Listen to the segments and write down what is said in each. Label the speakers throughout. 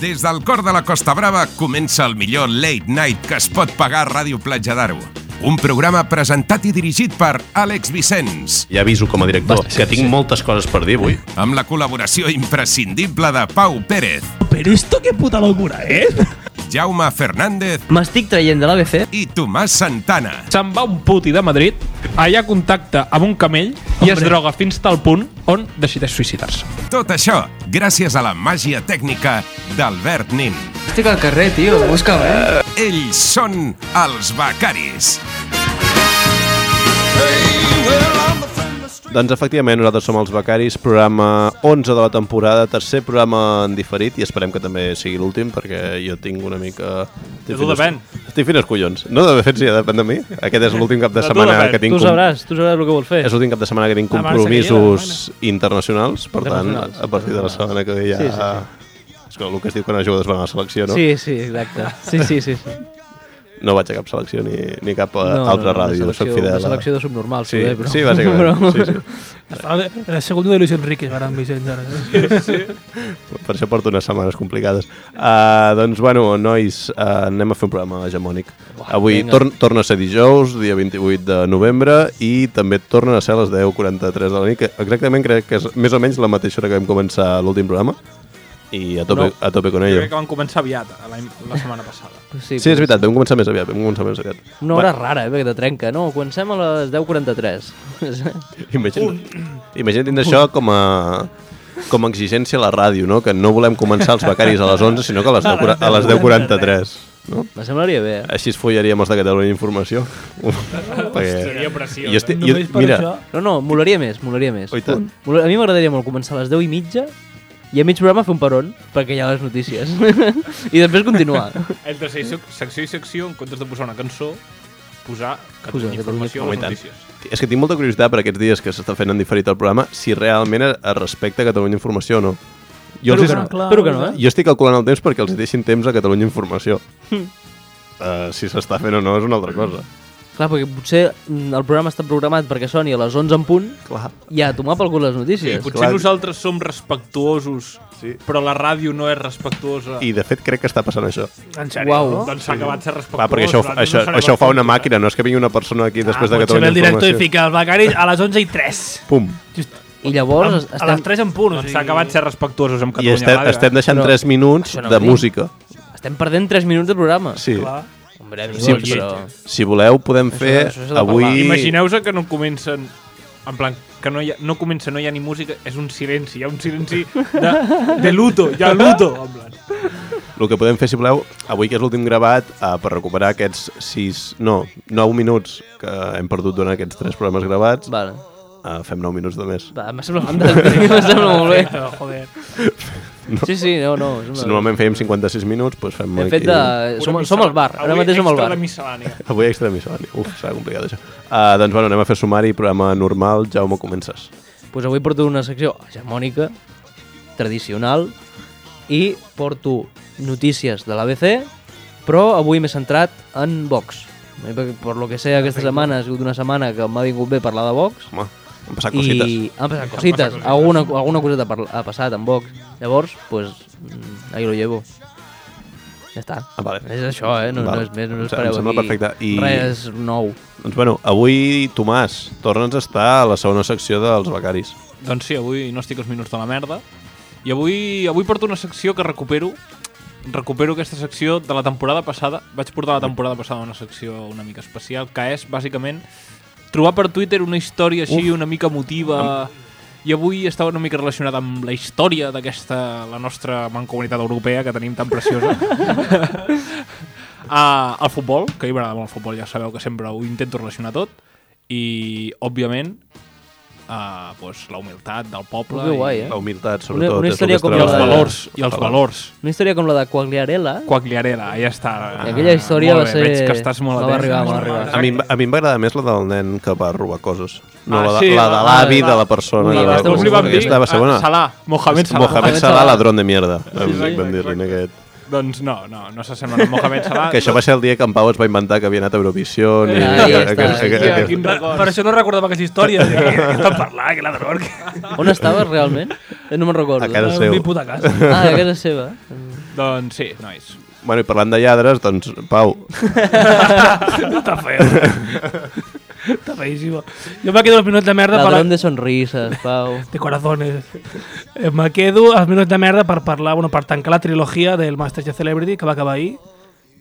Speaker 1: Des del cor de la Costa Brava comença el millor late night que es pot pagar a Ràdio Platja d'Aro. Un programa presentat i dirigit per Àlex Vicenç,
Speaker 2: Ja aviso com a director Basta, que tinc sí. moltes coses per dir avui.
Speaker 1: amb la col·laboració imprescindible de Pau Pérez,
Speaker 3: Pero esto qué puta locura eh. es.
Speaker 1: Jaume Fernández
Speaker 4: M'estic traient de l'ABC.
Speaker 1: i Tomàs Santana.
Speaker 5: Se'n va un puti de Madrid, allà contacta amb un camell i es droga fins tal punt on decideix suïcidar-se.
Speaker 1: Tot això gràcies a la màgia tècnica d'Albert Nin.
Speaker 4: Estic al carrer, tio, busca'm, eh?
Speaker 1: Ells són els becaris.
Speaker 2: Doncs efectivament, nosaltres som els Becaris, programa 11 de la temporada, tercer programa en diferit, i esperem que també sigui l'últim, perquè jo tinc una mica... Tinc
Speaker 5: De tu
Speaker 2: fins-
Speaker 5: depèn.
Speaker 2: Tinc fins als collons. No, de fet, sí, depèn de mi. Aquest és l'últim cap de
Speaker 5: De tu
Speaker 2: setmana
Speaker 5: depèn.
Speaker 2: que tinc...
Speaker 4: Tu
Speaker 2: com-
Speaker 4: sabràs, tu sabràs el que vols fer.
Speaker 2: És l'últim cap de setmana que tinc
Speaker 5: La Barça
Speaker 2: compromisos internacionals, per tant,
Speaker 4: Internacionals,
Speaker 2: a partir de la setmana que ve ja... Sí,
Speaker 4: Sí,
Speaker 2: sí,
Speaker 4: sí,
Speaker 2: sí. És que el que es diu quan els jugadors van a la selecció, no?
Speaker 4: Sí, sí, exacte. Sí, sí, sí. sí.
Speaker 2: No vaig a cap selecció ni, ni cap no, altra ràdio,
Speaker 4: una
Speaker 2: soc
Speaker 4: selecció,
Speaker 2: fidel.
Speaker 4: una
Speaker 2: a-
Speaker 4: selecció de subnormals,
Speaker 2: Sí,
Speaker 4: poder, però...
Speaker 2: sí, bàsicament. Sí,
Speaker 4: Però...
Speaker 2: sí.
Speaker 3: El segundo de Luis Enrique, para Vicente. Ara. eh.
Speaker 2: Per això porto unes setmanes complicades. Uh, doncs, bueno, nois, uh, anem a fer un programa hegemònic.
Speaker 4: Uah,
Speaker 2: Avui
Speaker 4: vinga.
Speaker 2: tor torna a ser dijous, dia 28 de novembre, i també torna a ser a les 10.43 de la nit, que exactament crec que és més o menys la mateixa hora que vam començar l'últim programa, i a tope,
Speaker 5: No.
Speaker 2: a tope con
Speaker 5: Jo
Speaker 2: ello.
Speaker 5: crec que van començar aviat, eh, la, la setmana passada.
Speaker 4: Sí,
Speaker 2: Sí, és veritat, vam començar més aviat, vam començar més aviat.
Speaker 4: Una hora rara, eh, perquè te trenca. No, comencem a les 10.43.
Speaker 2: Imagina't, imagina't això com a com a exigència a la ràdio, no? que no volem començar els becaris a les 11, sinó que a les 10.43. A les 10.43, no?
Speaker 4: Me semblaria bé, eh?
Speaker 2: Així es follaríem els de Catalunya Informació. Perquè...
Speaker 5: Seria preciós.
Speaker 2: Eh, Jo estic, jo,
Speaker 3: Només per
Speaker 2: mira,
Speaker 3: això.
Speaker 4: No, no, molaria més, molaria més.
Speaker 2: Oh, i tant.
Speaker 4: Mola- A mi m'agradaria molt començar a les 10 i mitja i a mig programa fer un peron, perquè hi ha les notícies. I després continuar.
Speaker 5: Entre secció, secció i secció, en comptes de posar una cançó, posar
Speaker 4: Posar
Speaker 5: Catalunya
Speaker 4: Catalunya
Speaker 5: Informació a
Speaker 2: Home,
Speaker 5: les
Speaker 2: i tant.
Speaker 5: notícies.
Speaker 2: és que tinc molta curiositat per aquests dies que s'està fent en diferit el programa si realment es respecta Catalunya Informació o no. Jo,
Speaker 4: Espero
Speaker 2: els
Speaker 4: que
Speaker 2: hi-
Speaker 4: no,
Speaker 3: clar,
Speaker 4: espero que no, eh?
Speaker 2: jo estic calculant el temps perquè els hi deixin temps a Catalunya Informació.
Speaker 3: Hm.
Speaker 2: Uh, si s'està fent o no és una altra cosa.
Speaker 4: Clar, perquè potser mm, el programa està programat perquè soni a les 11 en punt
Speaker 2: Clar.
Speaker 4: i a tomar pel cul les
Speaker 5: Sí,
Speaker 4: notícies.
Speaker 5: potser
Speaker 2: eh? clar.
Speaker 5: nosaltres som respectuosos,
Speaker 2: Sí.
Speaker 5: però la ràdio no és respectuosa.
Speaker 2: I de fet crec que està passant això.
Speaker 3: En
Speaker 4: Uau.
Speaker 5: Doncs s'ha acabat ser respectuós.
Speaker 2: Clar, perquè això,
Speaker 5: nosaltres no
Speaker 2: això,
Speaker 5: serem
Speaker 2: això ho fa una
Speaker 5: respectuosos.
Speaker 2: màquina, no és que vingui una persona aquí després de
Speaker 3: Ah, potser ve
Speaker 2: Catalunya
Speaker 3: el director i
Speaker 2: Informació.
Speaker 3: fica el becari a les 11 i 3.
Speaker 2: Pum.
Speaker 4: I llavors es-
Speaker 3: A les
Speaker 4: estem,
Speaker 3: 3 en punt. o
Speaker 5: Doncs
Speaker 3: sigui-
Speaker 5: s'ha acabat ser respectuosos amb
Speaker 2: I
Speaker 5: Catalunya
Speaker 2: estem,
Speaker 5: Ràdio.
Speaker 2: estem deixant
Speaker 4: Però-
Speaker 2: 3 minuts
Speaker 4: Això no
Speaker 2: de
Speaker 4: ho dic.
Speaker 2: música.
Speaker 4: estem perdent 3 minuts de programa.
Speaker 2: Sí.
Speaker 3: Clar.
Speaker 4: Hombre, amigos,
Speaker 2: Sí,
Speaker 4: però...
Speaker 2: Si voleu, podem fer
Speaker 4: això s'ha de
Speaker 2: avui...
Speaker 4: parlar.
Speaker 5: Imagineu-se que no comencen en plan, que no, hi ha, no comença, no hi ha ni música, és un silenci, hi ha un silenci de, de luto, hi ha luto. En plan.
Speaker 2: El que podem fer, si voleu, avui que és l'últim gravat, eh, per recuperar aquests 6, no, 9 minuts que hem perdut durant aquests 3 programes gravats,
Speaker 4: Vale.
Speaker 2: eh, fem 9 minuts de més.
Speaker 4: Va, em sembla fantàstic, em sembla molt bé.
Speaker 3: Però, joder.
Speaker 4: Sí, sí, no, no. és una-
Speaker 2: Si normalment fèiem 56 minuts, doncs fem
Speaker 4: Hem
Speaker 2: aquí...
Speaker 4: fet de... Som, som al bar, ara
Speaker 5: Avui
Speaker 4: mateix som al
Speaker 5: extra
Speaker 4: bar.
Speaker 5: de miscel·lània.
Speaker 2: Avui extra miscel·lani. Uf, serà complicat això. Uh, doncs bueno, anem a fer sumari, programa normal. Jaume, comences.
Speaker 4: pues avui porto una secció hegemònica, tradicional, i porto notícies de l'ABC, però avui m'he centrat en Vox. Eh, perquè Per lo que sé, aquesta setmana ha sigut una setmana que m'ha vingut bé parlar de Vox.
Speaker 2: Home, han passat cosites.
Speaker 4: I han passat cosites. Alguna, alguna coseta parla- ha passat en Vox. Llavors, pues, mm, ahí lo llevo. Ja està.
Speaker 2: Ah, vale.
Speaker 4: És això, eh? No,
Speaker 2: Vale.
Speaker 4: no és
Speaker 2: Em
Speaker 4: més, no
Speaker 2: se- em
Speaker 4: us espereu
Speaker 2: sembla
Speaker 4: aquí
Speaker 2: perfecte. I-
Speaker 4: Res nou.
Speaker 2: Doncs bueno, avui, Tomàs, torna'ns a estar a la segona secció dels becaris.
Speaker 5: Doncs sí, avui no estic als minuts de la merda. I avui, avui porto una secció que recupero. Recupero aquesta secció de la temporada passada. Vaig portar la temporada passada una secció una mica especial, que és, bàsicament, trobar per Twitter una història així una mica emotiva... I avui estava una mica relacionada amb la història d'aquesta, la nostra mancomunitat europea que tenim tan preciosa. Ah, el futbol, que a mi m'agrada molt el futbol, ja sabeu que sempre ho intento relacionar tot. I, òbviament, uh, pues, la humilitat del poble
Speaker 4: Que guai,
Speaker 5: i,
Speaker 4: eh?
Speaker 2: La humilitat, sobretot.
Speaker 4: una
Speaker 2: és el
Speaker 4: història
Speaker 2: que es
Speaker 4: com
Speaker 5: i els
Speaker 2: troba-
Speaker 5: valors. I els valors.
Speaker 4: Una història com la de Quagliarella,
Speaker 5: Quagliarella, ja està.
Speaker 4: I
Speaker 2: Ah,
Speaker 4: aquella història
Speaker 5: molt
Speaker 4: va
Speaker 5: bé,
Speaker 4: ser-
Speaker 5: Veig que estàs molt
Speaker 4: no va arribar, no va arribar.
Speaker 2: A mi, em va- a mi em va agradar més la del nen que va robar coses. No,
Speaker 5: Ah,
Speaker 2: la, de,
Speaker 5: sí,
Speaker 2: la de
Speaker 5: la-
Speaker 2: l'avi
Speaker 4: la-
Speaker 2: de la persona.
Speaker 4: Ui,
Speaker 2: pues, que va
Speaker 4: aquesta
Speaker 2: robar
Speaker 4: us li vam
Speaker 2: coses.
Speaker 4: dir,
Speaker 2: Aquesta va ser bona.
Speaker 5: Salah, Mohamed Salah.
Speaker 2: Mohamed Salah, ladrón de mierda. Vam,
Speaker 5: sí,
Speaker 2: vam dir-li
Speaker 5: exacte.
Speaker 2: en aquest.
Speaker 5: Doncs no, no, no s'assembla a Mohamed Salah.
Speaker 2: Que això va ser el dia que en Pau es va inventar que havia anat a Eurovisió. I,
Speaker 4: Ja, ja està.
Speaker 5: Hòstia, quin
Speaker 3: Per,
Speaker 5: record.
Speaker 3: per això no recordava aquesta història. Què estan parlant, eh, que ladrón. Que...
Speaker 4: On estaves realment? Eh, No me'n recordo.
Speaker 2: A casa
Speaker 3: Un
Speaker 2: seu.
Speaker 3: diput a casa.
Speaker 4: Ah, a casa seva.
Speaker 5: Doncs sí, nois.
Speaker 2: Bueno, i parlant de lladres, doncs, Pau,
Speaker 3: Està feo. Està feísimo. Jo me quedo els minuts de merda per...
Speaker 4: Ladrón de sonrisas, Pau.
Speaker 3: De corazones. Eh, Me quedo els minuts de merda per parlar, bueno, per tancar la trilogia del Masterchef Celebrity que va acabar ahir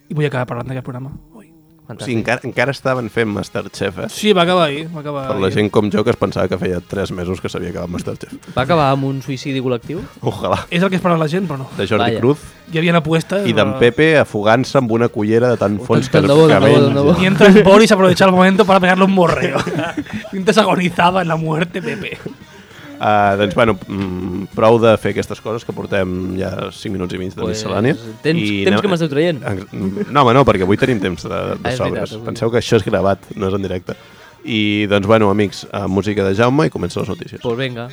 Speaker 3: i vull acabar parlant d'aquest programa. Ui.
Speaker 2: o sigui, encara, encara estaven fent Masterchef, eh?
Speaker 3: Sí, va acabar ahir. Va acabar
Speaker 2: Per la
Speaker 3: ahir.
Speaker 2: gent com jo que es pensava que feia 3 mesos que s'havia acabat Masterchef.
Speaker 4: Va acabar amb un suïcidi col·lectiu?
Speaker 2: Ojalà.
Speaker 3: És el que esperava la gent, però no.
Speaker 2: De Jordi
Speaker 4: Vaya.
Speaker 2: Cruz
Speaker 3: Hi havia apuestes.
Speaker 2: i d'en
Speaker 3: però-
Speaker 2: Pepe afogant-se amb una cullera de tan fons que
Speaker 4: tant
Speaker 2: el
Speaker 4: de bo, tant de bo,
Speaker 2: cabell...
Speaker 4: tant de bo.
Speaker 3: Y entonces Boris aprovecha el momento para pegarle un morreo. Mientras agonizaba en la muerte, Pepe.
Speaker 2: Uh, doncs, bueno, mm, prou de fer aquestes coses, que portem ja 5 minuts i mig de
Speaker 4: Pues, eh,
Speaker 2: miscel·lània.
Speaker 4: temps-
Speaker 2: I
Speaker 4: temps
Speaker 2: anem-
Speaker 4: que m'esteu traient.
Speaker 2: Ex- No, home, no, perquè avui tenim temps de,
Speaker 4: Ah,
Speaker 2: de
Speaker 4: és veritat,
Speaker 2: sobres.
Speaker 4: avui.
Speaker 2: Penseu que això és gravat, no és en directe. I, doncs, bueno, amics, eh, música de Jaume i comencen les notícies.
Speaker 4: Pues venga.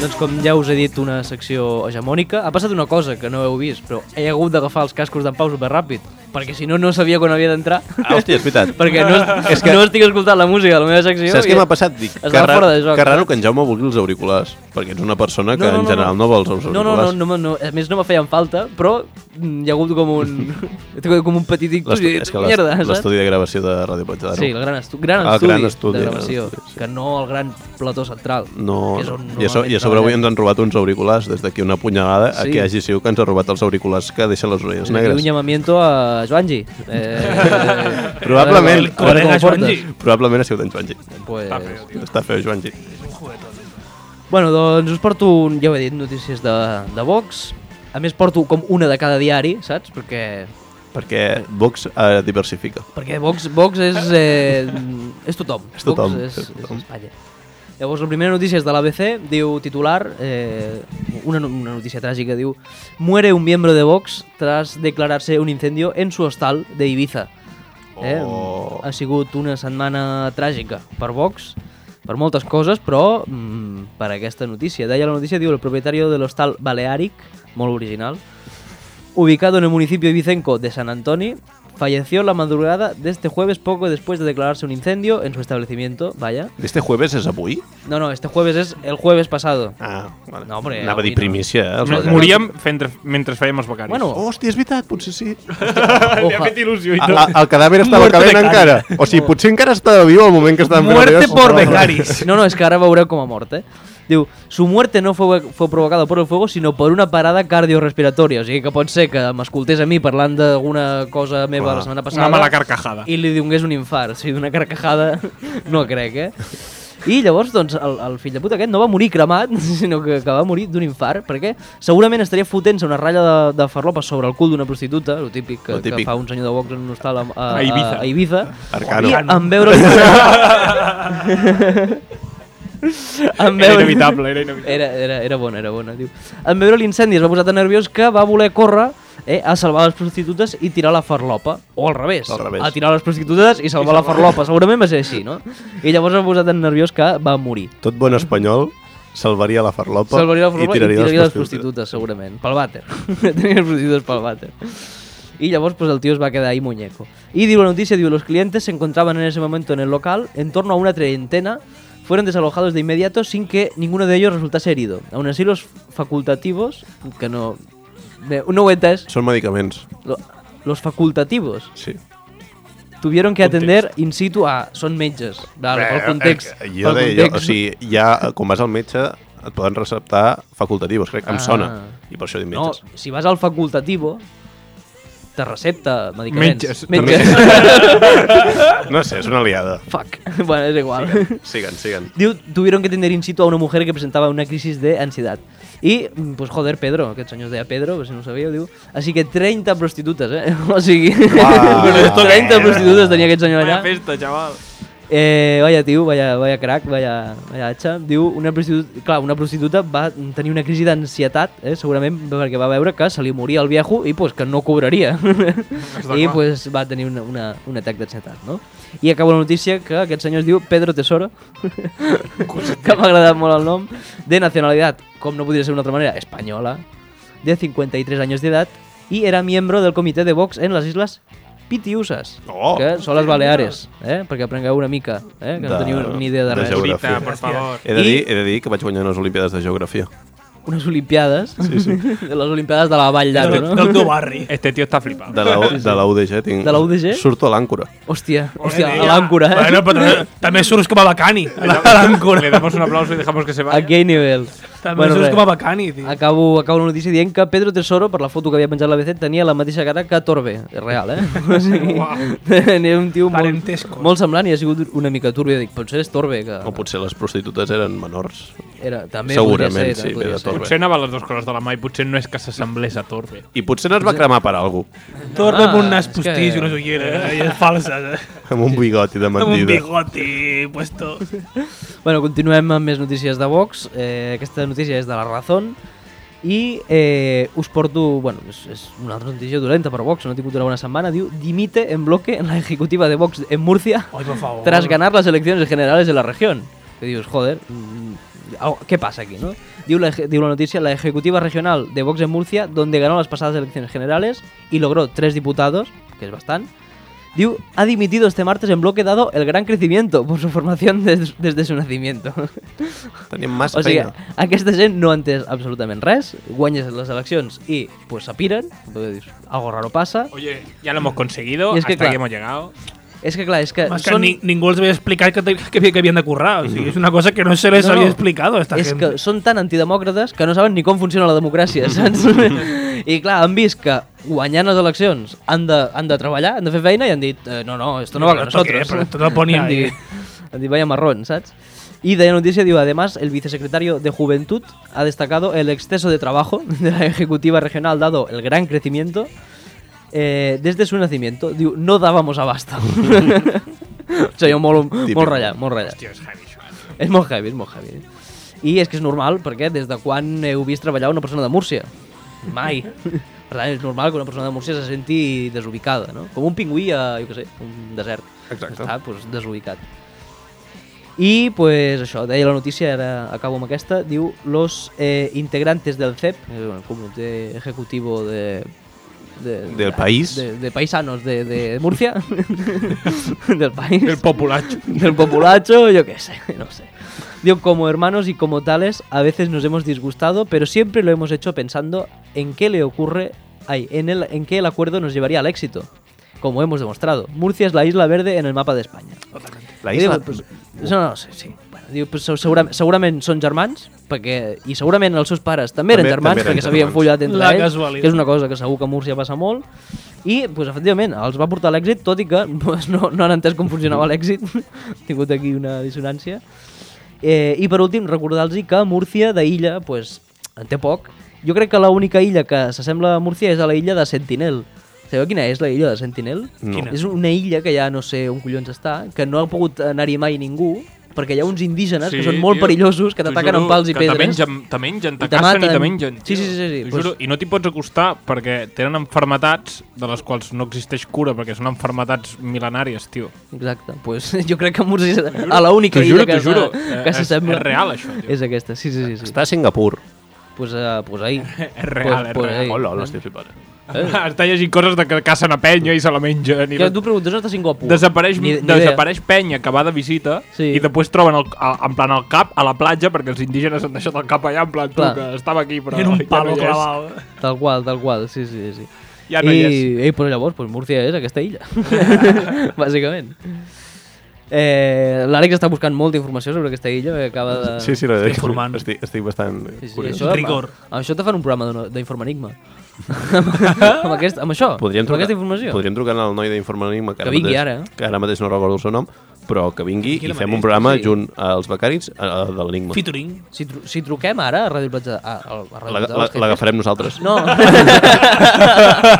Speaker 4: Doncs com ja us he dit, una secció hegemònica. Ha passat una cosa que no heu vist, però he hagut d'agafar els cascos d'en Pau superràpid, perquè si no, no sabia quan havia d'entrar.
Speaker 2: Ah, hòstia, és veritat.
Speaker 4: perquè no, és que... no estic escoltant la música de la meva secció.
Speaker 2: Saps
Speaker 4: i-
Speaker 2: què m'ha passat? Dic,
Speaker 4: Es va
Speaker 2: ra-
Speaker 4: fora de joc.
Speaker 2: que raro que en Jaume vulgui els auriculars, perquè ets una persona que en general no, vols els
Speaker 4: no, no,
Speaker 2: auriculars.
Speaker 4: no, no, no, no, a més no me feien falta, però mm, hi ha hagut com un, com un petit ictus i he
Speaker 2: L'estu-
Speaker 4: dit,
Speaker 2: és que
Speaker 4: merda,
Speaker 2: l'est-
Speaker 4: saps?
Speaker 2: l'estudi de gravació de Ràdio Platja d'Aro
Speaker 4: Sí, el gran, estu gran,
Speaker 2: El
Speaker 4: estudi
Speaker 2: gran estudi, el
Speaker 4: de
Speaker 2: gran
Speaker 4: gravació,
Speaker 2: estudi, sí.
Speaker 4: que no el gran plató central.
Speaker 2: no,
Speaker 4: que és on
Speaker 2: no. I, a so,
Speaker 4: normalment
Speaker 2: i a sobre avui
Speaker 4: treballem.
Speaker 2: ens han robat uns auriculars des d'aquí una punyalada
Speaker 4: Sí.
Speaker 2: a qui hagi sigut que ens ha robat els auriculars que deixen les orelles
Speaker 4: Aquí un
Speaker 2: negres
Speaker 4: llamamiento a Joanji. Eh,
Speaker 2: Probablement.
Speaker 4: a veure com- a veure com
Speaker 3: Colega
Speaker 4: ho portes.
Speaker 3: Joanji.
Speaker 2: probablement ha sigut en Joanji
Speaker 4: Pues...
Speaker 2: està feo Joanji
Speaker 4: Bueno, doncs us porto, un- ja ho he dit, notícies de, de Vox. A més, porto com una de cada diari, saps? Perquè
Speaker 2: perquè Vox eh, diversifica
Speaker 4: Perquè Vox, Vox és, eh, és tothom.
Speaker 2: És tothom,
Speaker 4: Vox és,
Speaker 2: és tothom.
Speaker 4: és Espanya. Llavors, la primera notícia és de l'ABC, diu titular, eh, una, no- una notícia tràgica, diu Muere un miembro de Vox tras declararse un incendio en su hostal de Ibiza. Eh?
Speaker 2: Oh.
Speaker 4: Ha sigut una setmana tràgica per Vox, per moltes coses, però mm, per aquesta notícia. Deia la notícia, diu, el propietari de l'hostal Balearic, molt original, ubicado en el municipio ibicenco de San Antonio, falleció la madrugada de este jueves poco después de declararse un incendio en su establecimiento. Vaya.
Speaker 2: este jueves és avui?
Speaker 4: No, no, este jueves es el jueves pasado.
Speaker 2: Ah, vale.
Speaker 4: No, hombre,
Speaker 2: Anava a dir
Speaker 4: avui no.
Speaker 2: primícia, eh? els
Speaker 5: M-
Speaker 2: becaris.
Speaker 5: Moríem fent, mentre fèiem els becaris.
Speaker 4: Bueno,
Speaker 2: Oh, hòstia, és veritat, potser sí.
Speaker 5: Li ha
Speaker 4: oja-
Speaker 5: fet il·lusió i
Speaker 2: Ah,
Speaker 5: tot.
Speaker 2: ah, el cadàver estava
Speaker 3: Muerte
Speaker 2: calent
Speaker 3: becari.
Speaker 2: encara. O sigui, potser encara estava viu al moment que estàvem fent
Speaker 3: Muerte
Speaker 2: arribar.
Speaker 3: por becaris.
Speaker 4: No, no, es que ahora veureu com ha mort, eh? Diu, su muerte no fue, fue provocada por el fuego, sinó per una parada cardiorrespiratòria. O sigui que pot ser que m'escoltés a mi parlant d'alguna cosa meva
Speaker 2: Clar.
Speaker 4: la setmana passada.
Speaker 5: Una mala carcajada.
Speaker 4: i li donés un infart, o sigui, d'una carcajada, no crec, eh? I llavors, doncs, el, el fill de puta aquest no va morir cremat, sinó que, que va morir d'un infart, perquè segurament estaria fotent-se una ratlla de, de farlopa sobre el cul d'una prostituta, lo típic, que,
Speaker 2: Lo típic.
Speaker 4: que fa un senyor de Vox en un hostal a, a,
Speaker 5: A Ibiza.
Speaker 4: A, a Ibiza
Speaker 2: Arcano.
Speaker 4: I en veure... en
Speaker 5: Era
Speaker 4: veure...
Speaker 5: inevitable, era inevitable.
Speaker 4: Era, era, era bona, era bona, diu. En veure l'incendi es va posar tan nerviós que va voler córrer eh, a salvar les prostitutes i tirar la farlopa. O al revés.
Speaker 2: Al revés.
Speaker 4: A tirar les prostitutes i salvar la farlopa. Segurament va ser així, no? I llavors es va posar tan nerviós que va morir.
Speaker 2: Tot bon espanyol salvaria la farlopa,
Speaker 4: Salvaria la farlopa
Speaker 2: i tiraria,
Speaker 4: les prostitutes, segurament. Pel vàter. Tenia les prostitutes pel vàter. Y llavors pues, el tío es va quedar ahí muñeco. Y digo la noticia, digo, los clientes se encontraban en ese momento en el local, en torno a una treintena, fueron desalojados de inmediato sin que ninguno de ellos resultase herido. Aún así los facultativos, que no... me- No vueltas,
Speaker 2: Són medicaments,
Speaker 4: los facultativos
Speaker 2: sí.
Speaker 4: tuvieron que atender in situ a... Són metges, vale, pel context.
Speaker 2: Eh, jo
Speaker 4: pel
Speaker 2: deia, jo, o
Speaker 4: context.
Speaker 2: sigui, ja, eh, quan vas al metge, et poden receptar facultatius, crec, em
Speaker 4: Ah.
Speaker 2: sona. I per això dic
Speaker 4: No,
Speaker 2: metges.
Speaker 4: si vas al facultativo, te recepta medicaments.
Speaker 5: Metges,
Speaker 4: Metges.
Speaker 2: No, no sé, és una liada.
Speaker 4: Fuck. Bueno, és igual.
Speaker 5: eh.
Speaker 2: Siguen, siguen.
Speaker 4: Diu, tuvieron que tener in situ a una mujer que presentaba una crisis de ansiedad. Y, mm, pues joder, Pedro, que senyor es deia Pedro, pues, si no ho sabíeu, diu. Así que 30 prostitutes, eh? O sigui,
Speaker 2: Uau.
Speaker 4: bueno, 30 prostitutes tenia aquest senyor
Speaker 5: Vaya
Speaker 4: allà.
Speaker 5: festa, xaval.
Speaker 4: Eh, vaya tio, vaya, vaya crack, vaya, vaya atxa. Diu, una prostituta, clar, una prostituta va tenir una crisi d'ansietat, eh, segurament perquè va veure que se li moria el viejo i pues, que no cobraria. I
Speaker 5: clar.
Speaker 4: pues, va tenir una, una, un atac d'ansietat, no? I acabo la notícia que aquest senyor es diu Pedro Tesoro, que m'ha agradat molt el nom, de nacionalitat, com no podria ser d'una altra manera, espanyola, de 53 anys d'edat y era miembro del comité de box en les Isles Pitiusas,
Speaker 2: Oh!
Speaker 4: que són les Baleares, eh? perquè aprengueu una mica, eh? que no
Speaker 2: De-
Speaker 4: teniu ni idea
Speaker 2: de
Speaker 4: de res.
Speaker 2: geografia.
Speaker 5: Ahorita, por favor.
Speaker 2: He de,
Speaker 4: I-
Speaker 2: dir, he de dir que vaig guanyar unes Olimpiades de Geografia.
Speaker 4: Unes Olimpiades, sí, sí. de les Olimpiades de la Vall d'Aro,
Speaker 3: Del,
Speaker 4: no?
Speaker 3: del teu barri.
Speaker 5: Este tío está flipado.
Speaker 2: De la, de la UDG tinc...
Speaker 4: De la UDG?
Speaker 2: Surto a l'àncora.
Speaker 4: Hòstia, hòstia, a l'àncora, eh?
Speaker 3: Bueno, però també surts com a Bacani. A la- a
Speaker 5: Le
Speaker 3: l'àncora.
Speaker 5: damos un aplauso y dejamos que se
Speaker 4: A
Speaker 5: vaya.
Speaker 4: quin nivell?
Speaker 3: També surts
Speaker 4: res.
Speaker 3: com a Bacani, tio.
Speaker 4: Acabo, acabo la notícia dient que Pedro Tesoro, per la foto que havia penjat l'ABC, tenia la mateixa cara que Torbe. És real, eh? O sigui, era un tio molt,
Speaker 3: Parentesco.
Speaker 4: molt semblant i ha sigut una mica turbio. Dic, potser és Torbe, que
Speaker 2: O potser les prostitutes eren menors.
Speaker 4: era, també
Speaker 2: Segurament,
Speaker 4: podria ser,
Speaker 2: sí, ve de
Speaker 4: podria ser.
Speaker 2: Torbe.
Speaker 5: Potser anava a les dues coses de la mà i potser no és que s'assemblés a Torbe.
Speaker 2: I potser no es va cremar per algú.
Speaker 3: Torna amb un
Speaker 4: Ah,
Speaker 3: nas
Speaker 4: és
Speaker 3: postís
Speaker 4: que-
Speaker 3: i unes ulleres eh, falses, eh?
Speaker 2: Amb un bigoti de
Speaker 3: Amb un
Speaker 2: mentida.
Speaker 3: bigoti puesto.
Speaker 4: Bueno, continuem amb més notícies de Vox. Eh, aquesta notícia és de la Razón. I eh, us porto... Bueno, és, és una altra notícia dolenta per Vox, no he tingut una bona setmana. Diu, dimite en bloque en la ejecutiva de Vox en Murcia.
Speaker 3: Ay, por favor.
Speaker 4: tras ganar las elecciones generales de la región. Que dices, joder, mm, algo- ¿qué pasa aquí, no? Dio la, eje- dio la noticia la ejecutiva regional de Vox en Murcia, donde ganó las pasadas elecciones generales y logró tres diputados, que es bastante. Diu ha dimitido este martes en bloque dado el gran crecimiento por su formación des- desde su nacimiento.
Speaker 2: Tenim massa
Speaker 4: O sigui, eh,
Speaker 2: feina.
Speaker 4: aquesta gent no ha entès absolutament res, guanyes les eleccions i pues, s'apiren, perquè dius, algo raro passa.
Speaker 5: Oye, ya lo hemos conseguido,
Speaker 4: Y es que,
Speaker 5: hasta
Speaker 4: claro.
Speaker 5: aquí hemos llegado.
Speaker 4: És que clar, és que
Speaker 3: Más que
Speaker 4: són...
Speaker 3: ni- ningú els havia explicat que, te- que, havia- que havien de currar. O sigui, és una cosa que no se les
Speaker 4: No, no.
Speaker 3: havia explicado a esta
Speaker 4: és
Speaker 3: gent.
Speaker 4: que són tan antidemòcrates que no saben ni com funciona la democràcia, saps? I clar, han vist que guanyant les eleccions han de, han de treballar, han de fer feina i han dit eh, no, no, esto no va
Speaker 3: Però
Speaker 4: con
Speaker 3: esto qué,
Speaker 4: nosotros.
Speaker 3: però esto no ponía
Speaker 4: han,
Speaker 3: ahí.
Speaker 4: dit, han dit, vaya marrón, saps? Y de la noticia digo, además, el vicesecretario de Juventud ha destacado el exceso de trabajo de la Ejecutiva Regional, dado el gran crecimiento eh, desde su nacimiento. Diu, no dábamos abasto. o sigui, molt,
Speaker 2: Típic.
Speaker 4: molt ratllat, molt ratllat.
Speaker 5: Tío, es heavy, això, eh?
Speaker 4: És molt heavy, és molt heavy. I és que és normal, perquè des de quan heu vist treballar eh, una persona de Múrcia? Mai. Per tant, és normal que una persona de Múrcia se senti desubicada, no? Com un pingüí a, jo què sé, un desert.
Speaker 2: Exacte.
Speaker 4: Està, doncs, desubicat. I, pues, això, deia la notícia, ara acabo amb aquesta, diu, los eh, integrantes del CEP, eh, bueno, el comitè ejecutivo de... de
Speaker 2: Del país.
Speaker 4: De, de paisanos de, de Murcia. del país
Speaker 5: El populacho.
Speaker 4: del populacho, yo qué sé, no sé. Digo, como hermanos y como tales, a veces nos hemos disgustado, pero siempre lo hemos hecho pensando en qué le ocurre, ay, en, el, en qué el acuerdo nos llevaría al éxito. Como hemos demostrado, Murcia es la isla verde en el mapa de España.
Speaker 2: La
Speaker 4: I
Speaker 2: isla...
Speaker 4: diu, pues, no, no, sí, sí. Bueno, diu, pues, segura, segurament són germans, perquè, i segurament els seus pares també eren
Speaker 2: També-
Speaker 4: germans,
Speaker 2: també eren
Speaker 4: perquè s'havien
Speaker 2: germans.
Speaker 4: follat entre
Speaker 3: La
Speaker 4: ells,
Speaker 3: casualitat.
Speaker 4: que és una cosa que segur que a Múrcia passa molt, i, pues, efectivament, els va portar a l'èxit, tot i que pues, no, no han entès com funcionava l'èxit, ha tingut aquí una dissonància. Eh, I per últim, recordar-los que Múrcia d'illa pues, en té poc. Jo crec que l'única illa que s'assembla a Múrcia és a la illa de Sentinel. Sabeu quina és la illa de Sentinel?
Speaker 2: No. Quina?
Speaker 4: És una illa que ja no sé on collons està, que no ha pogut anar-hi mai ningú, perquè hi ha uns indígenes sí, que són molt
Speaker 5: tio,
Speaker 4: tio, perillosos, que
Speaker 5: t'ho
Speaker 4: t'ataquen
Speaker 5: juro,
Speaker 4: amb pals i
Speaker 5: que
Speaker 4: pedres.
Speaker 5: Te mengen, te mengen, te
Speaker 4: I te
Speaker 5: cacen i te
Speaker 4: maten.
Speaker 5: mengen.
Speaker 4: Sí,
Speaker 5: tio.
Speaker 4: sí, sí, sí,
Speaker 5: T'ho
Speaker 4: pues-
Speaker 5: juro, I no t'hi pots acostar perquè tenen enfermetats de les quals no existeix cura perquè són enfermetats mil·lenàries, tio.
Speaker 4: Exacte, pues, jo crec que Mursi és a l'única
Speaker 5: T'ho juro,
Speaker 4: illa que,
Speaker 5: t'ho juro.
Speaker 4: s'ha-
Speaker 5: Eh,
Speaker 4: que
Speaker 5: és-
Speaker 4: s'assembla.
Speaker 5: és real, això, tio.
Speaker 4: És aquesta, sí, sí, sí. sí.
Speaker 2: Està a Singapur.
Speaker 4: Pues, uh, pues ahí.
Speaker 5: És real, és real.
Speaker 4: ahí.
Speaker 2: Hola, hola, estic flipant.
Speaker 4: Eh,
Speaker 5: Està llegint coses de que cacen a penya i se la mengen. I
Speaker 4: Jo,
Speaker 5: la-
Speaker 4: tu preguntes on està Singapur.
Speaker 5: Desapareix,
Speaker 4: Ni- ni idea.
Speaker 5: desapareix penya que va de visita
Speaker 4: Sí.
Speaker 5: i després troben el, a, en plan el cap a la platja perquè els indígenes han deixat el cap allà en plan tu,
Speaker 4: Clar.
Speaker 5: que estava aquí però
Speaker 3: En un
Speaker 5: ja
Speaker 3: palo
Speaker 5: no hi és.
Speaker 3: clavado.
Speaker 4: Tal qual, tal qual, sí, sí, sí.
Speaker 5: Ja no
Speaker 4: I,
Speaker 5: hi
Speaker 4: I però llavors, pues, Múrcia és aquesta illa, bàsicament. Eh, L'Àlex està buscant molta informació sobre aquesta illa, perquè acaba de...
Speaker 2: Sí, sí, la veritat.
Speaker 3: informant.
Speaker 2: que Estic, estic bastant
Speaker 4: Sí, sí,
Speaker 2: curiós.
Speaker 4: això,
Speaker 3: Rigor.
Speaker 4: Amb això te fan un programa d'una- d'informanigma. amb, aquest, amb això,
Speaker 2: Podríem
Speaker 4: amb
Speaker 2: trucar,
Speaker 4: aquesta informació.
Speaker 2: podríem trucar al noi d'Informanigma que,
Speaker 4: Ah. Que vingui
Speaker 2: mateix,
Speaker 4: ara, eh?
Speaker 2: que ara mateix no recordo el seu nom però que vingui i fem un programa sí. junt als becaris eh, de l'Enigma
Speaker 3: Featuring.
Speaker 4: Si, tru si truquem ara a Ràdio Platja... A, a, a Ràdio
Speaker 2: La-
Speaker 4: Platja
Speaker 2: la-
Speaker 4: dels Jefes-
Speaker 2: L'agafarem nosaltres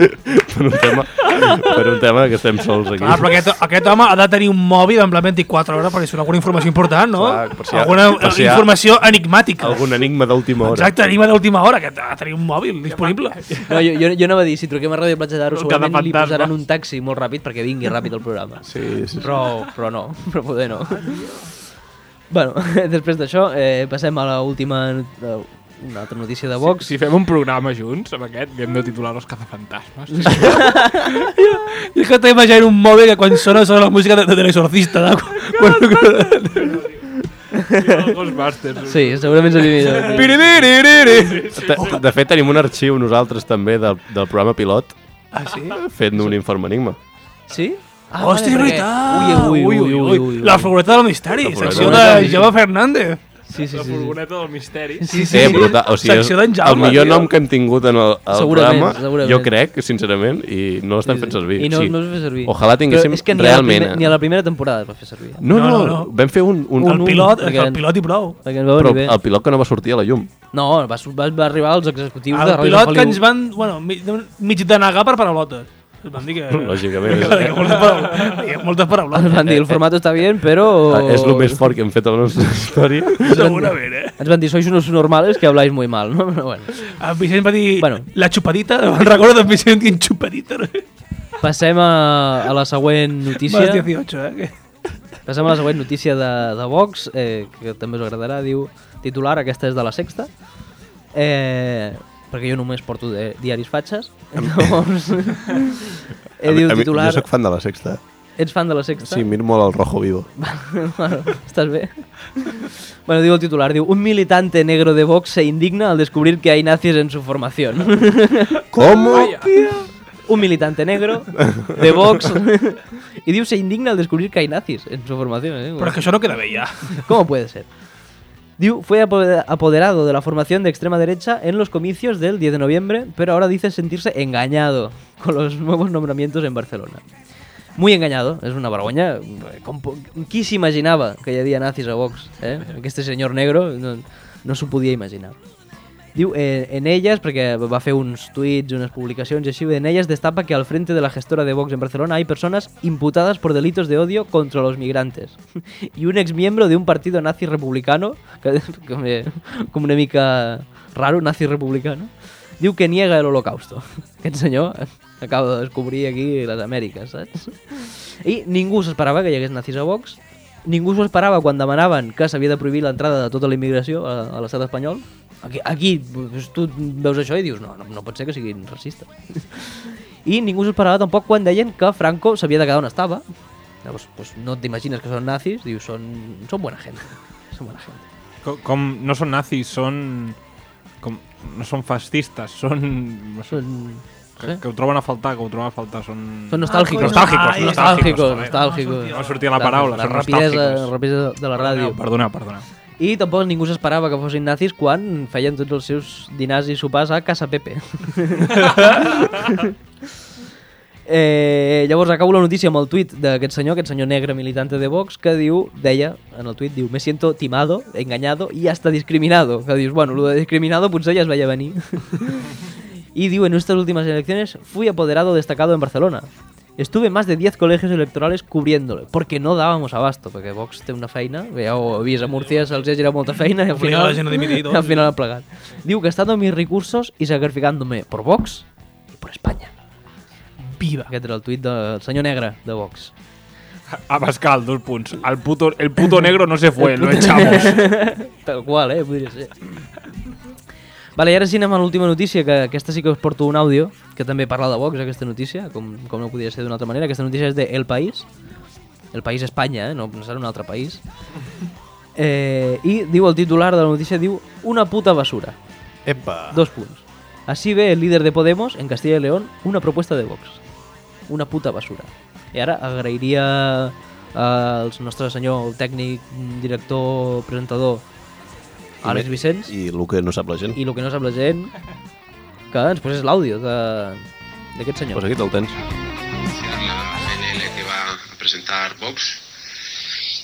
Speaker 4: No,
Speaker 2: per, un tema, per un tema que estem sols aquí
Speaker 4: Ah,
Speaker 3: Clar, Ah, però aquest, aquest home ha de tenir un mòbil en plan 24 hores perquè sona alguna informació important, no?
Speaker 2: Clar, per si hi ha-
Speaker 3: alguna
Speaker 2: per si hi ha-
Speaker 3: informació enigmàtica.
Speaker 2: algun enigma d'última hora
Speaker 3: Exacte, anima d'última hora, que ha de tenir un mòbil disponible.
Speaker 4: no jo, jo, jo anava a dir, si truquem a Ràdio Platja d'Aro
Speaker 5: Cada
Speaker 4: segurament li
Speaker 5: fantasma.
Speaker 4: posaran un taxi molt ràpid perquè vingui ràpid el programa.
Speaker 2: sí, sí, sí.
Speaker 4: però, però no, però poder no. Bueno, després d'això, eh, passem a l'última eh, una altra notícia de Vox.
Speaker 5: Si fem un programa junts amb aquest, que hem de titular Los Cazafantasmes.
Speaker 3: Y es que estoy imaginando un móvil que cuando suena suena la música de, de- del exorcista. ¿no? Bueno,
Speaker 5: Els Ghostbusters.
Speaker 4: Sí, segurament seria millor.
Speaker 5: Piribiribiri.
Speaker 2: Te- De fet, tenim un arxiu nosaltres també del, del programa pilot
Speaker 3: ¿Ah, sí?
Speaker 2: fet d'un informe enigma.
Speaker 4: Sí? Ah,
Speaker 3: Hòstia, és
Speaker 4: perquè-
Speaker 3: veritat!
Speaker 4: Ui, ui, ui, ui, ui, ui.
Speaker 3: La furgoneta del misteri,
Speaker 2: La furgoneta
Speaker 3: secció
Speaker 2: del
Speaker 3: de
Speaker 4: misteri.
Speaker 3: Jaume Fernández.
Speaker 4: Sí, sí,
Speaker 5: La
Speaker 4: sí. sí.
Speaker 5: furgoneta del misteri.
Speaker 4: Sí,
Speaker 2: Sí, eh, brutal. O sigui,
Speaker 3: Secció d'en
Speaker 2: és el
Speaker 3: Jaume,
Speaker 2: millor
Speaker 3: tio.
Speaker 2: nom que hem tingut en el, el
Speaker 4: Segurament,
Speaker 2: programa,
Speaker 4: segurament.
Speaker 2: jo crec, sincerament, i no l'estan fent servir.
Speaker 4: I no,
Speaker 2: sí.
Speaker 4: no es va fer servir.
Speaker 2: Ojalà tinguéssim
Speaker 4: Però és que ni
Speaker 2: realment... eh.
Speaker 4: A la primer, ni a la primera temporada es va fer servir.
Speaker 2: No, no,
Speaker 3: No,
Speaker 2: no,
Speaker 3: no, no.
Speaker 2: vam fer un... un,
Speaker 3: El
Speaker 4: un-
Speaker 3: pilot,
Speaker 4: perquè-
Speaker 3: el pilot i prou.
Speaker 4: Perquè ens va
Speaker 2: però
Speaker 4: venir bé.
Speaker 2: el pilot que no va sortir a la llum.
Speaker 4: No, va, su- va, va arribar als executius de Ràdio
Speaker 3: El
Speaker 4: Sant
Speaker 3: pilot que
Speaker 4: Feliu.
Speaker 3: ens van, bueno, mi- mig denegar per paraulotes. Ens van dir que...
Speaker 2: Lògicament.
Speaker 3: que hi ha
Speaker 2: És,
Speaker 3: moltes paraulotes. Hi ha moltes
Speaker 4: Ens
Speaker 3: paraulotes.
Speaker 4: van dir, el formato està bien, però...
Speaker 2: Ah, és el més fort que hem fet a la nostra història.
Speaker 3: Segurament, eh?
Speaker 4: Ens van dir, sois unos normales que habláis muy mal, no? Però bueno.
Speaker 3: El Vicent va dir
Speaker 4: Bueno.
Speaker 3: la xupadita, me'n recordo del Vicent dient xupadita. no?
Speaker 4: Passem a, a la següent notícia.
Speaker 3: Más 18, eh? que-
Speaker 4: Passem a la següent notícia de, de Vox, eh, que també us agradarà, diu titular, aquesta és de la sexta, eh, perquè jo només porto de, diaris fatxes, llavors... eh, diu
Speaker 2: A mi-
Speaker 4: titular,
Speaker 2: Jo soc fan de la sexta.
Speaker 4: ets fan de la sexta?
Speaker 2: Sí, miro molt el Rojo Vivo.
Speaker 4: bueno, ¿Estás bien? Bueno, digo el titular, digo, un militante negro de Vox se indigna al descubrir que hay nazis en su formación.
Speaker 2: Com?
Speaker 4: un militante negro de Vox y digo se indigna al descubrir que hay nazis en su formación. ¿eh?
Speaker 3: Però és que això no queda bé ja.
Speaker 4: ¿Cómo puede ser? Diu fue apoder- apoderado de la formación de extrema derecha en los comicios del 10 de noviembre, pero ahora dice sentirse engañado con los nuevos nombramientos en Barcelona. Muy engañado, es una vergonya. Com po- Qui s'imaginava que hi havia nazis a Vox? Eh? Este senyor negro no, no s'ho podia imaginar. Diu, eh, en ellas, porque va a hacer unos tweets, unas publicaciones y así, en ellas destapa que al frente de la gestora de Vox en Barcelona hay personas imputadas por delitos de odio contra los migrantes. y un exmiembro de un partido nazi republicano, que, que me, como una mica raro, nazi republicano, diu que niega el holocausto. Aquest senyor acaba de descobrir aquí les Amèriques, saps? I ningú s'esperava que hi hagués nazis a Vox, ningú s'ho esperava quan demanaven que s'havia de prohibir l'entrada de tota la immigració a, a l'estat espanyol. Aquí, aquí doncs, tu veus això i dius, no, no, no pot ser que siguin racistes. I ningú s'ho esperava tampoc quan deien que Franco s'havia de quedar on estava. Llavors, doncs, no t'imagines que són nazis, dius, són, són bona gent. Són bona gent.
Speaker 5: Com, com no són nazis, són... Com, no són fascistes, són... No sé,
Speaker 4: Són...
Speaker 5: que, que ho troben a faltar, que ho troben a faltar, són...
Speaker 4: Són nostàlgicos.
Speaker 5: Nostàlgicos,
Speaker 3: Ai,
Speaker 5: nostàlgicos.
Speaker 4: nostàlgicos, nostàlgicos.
Speaker 5: No sortia la paraula,
Speaker 4: la
Speaker 5: són
Speaker 4: rapidesa,
Speaker 5: nostàlgicos.
Speaker 4: la rapidesa de la ràdio.
Speaker 5: No, perdona, perdona.
Speaker 4: I tampoc ningú s'esperava que fossin nazis quan feien tots els seus dinars i sopars a Casa Pepe. eh, llavors acabo la notícia amb el tuit d'aquest senyor, aquest senyor negre militante de Vox, que diu, deia, en el tuit, diu me siento timado, engañado y hasta discriminado. Que dius, bueno, lo de discriminado potser ja es veia venir. Y digo, en nuestras últimas elecciones fui apoderado destacado en Barcelona. Estuve en más de 10 colegios electorales cubriéndole, porque no dábamos abasto, perquè Vox té una feina, ja ho he vist a Múrcia, se'ls ha girat molta feina i al
Speaker 3: Obligar
Speaker 4: final,
Speaker 3: la gent a dimitir i tot.
Speaker 4: al final ha plegat. Diu, gastando mis recursos y sacrificándome por Vox y por España.
Speaker 3: Viva.
Speaker 4: Aquest era el tuit del senyor negre de Vox.
Speaker 5: A Pascal, dos punts. El puto, el puto negro no se fue, lo echamos.
Speaker 4: Tal qual, eh? Podria ser. Vale, i ara sí anem a l'última notícia, que aquesta sí que us porto un àudio, que també parla de Vox, aquesta notícia, com, com no podia ser d'una altra manera. Aquesta notícia és de El País, El País Espanya, eh? no, no serà un altre país. Eh, I diu el titular de la notícia, diu Una puta basura.
Speaker 2: Epa!
Speaker 4: Dos puntos. Así ve el líder de Podemos en Castilla y León una propuesta de Vox. Una puta basura. I ara agrairia al nostre senyor tècnic, director, presentador, Àlex Vicenç, i,
Speaker 2: I el que no sap la gent.
Speaker 4: i el que no sap la gent, que ens posés l'àudio de- d'aquest senyor.
Speaker 2: Pues aquí te'l tens.
Speaker 6: la PNL que va a presentar Vox.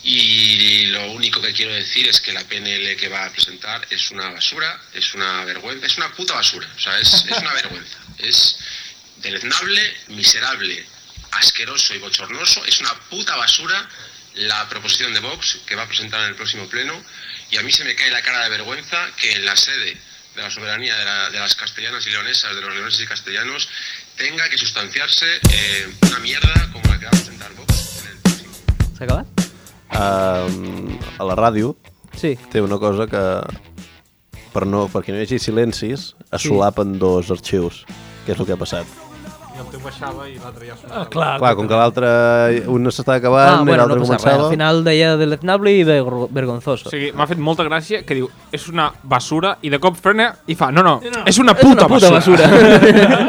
Speaker 6: Y lo único que quiero decir es que la PNL que va a presentar es una basura, es una vergüenza, es una puta basura. O sea, es, es una vergüenza. Es deleznable, miserable, asqueroso y bochornoso. Es una puta basura la proposición de Vox que va a presentar en el próximo pleno. Y a mí se me cae la cara de vergüenza que en la sede de la soberanía de, la- de las castellanas y leonesas, de los leoneses y castellanos, tenga que sustanciarse eh, una mierda como la que va a presentar Vox en el próximo.
Speaker 4: S'ha acabat?
Speaker 2: Um, a la ràdio
Speaker 4: Sí.
Speaker 2: té una cosa que per, no, perquè no hi hagi silencis, es solapen dos arxius, que és el que ha passat.
Speaker 5: I el teu baixava i l'altre ja sonava.
Speaker 3: Ah, clar,
Speaker 2: Clar, com que l'altre, un s'estava acabant
Speaker 4: Ah,
Speaker 2: i
Speaker 4: bueno, no
Speaker 2: l'altre
Speaker 4: passa res.
Speaker 2: començava...
Speaker 4: Al final deia deleznable i vergo- vergonzoso.
Speaker 5: O sigui, m'ha fet molta gràcia que diu és una basura i de cop frena i fa no, no,
Speaker 3: No, no.
Speaker 5: és una
Speaker 4: És una
Speaker 5: puta,
Speaker 4: puta basura.